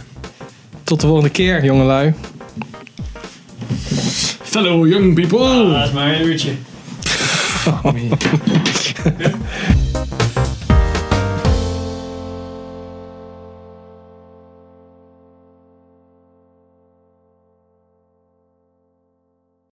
Tot de volgende keer, jongelui.
Fellow young people.
Laat maar een uurtje.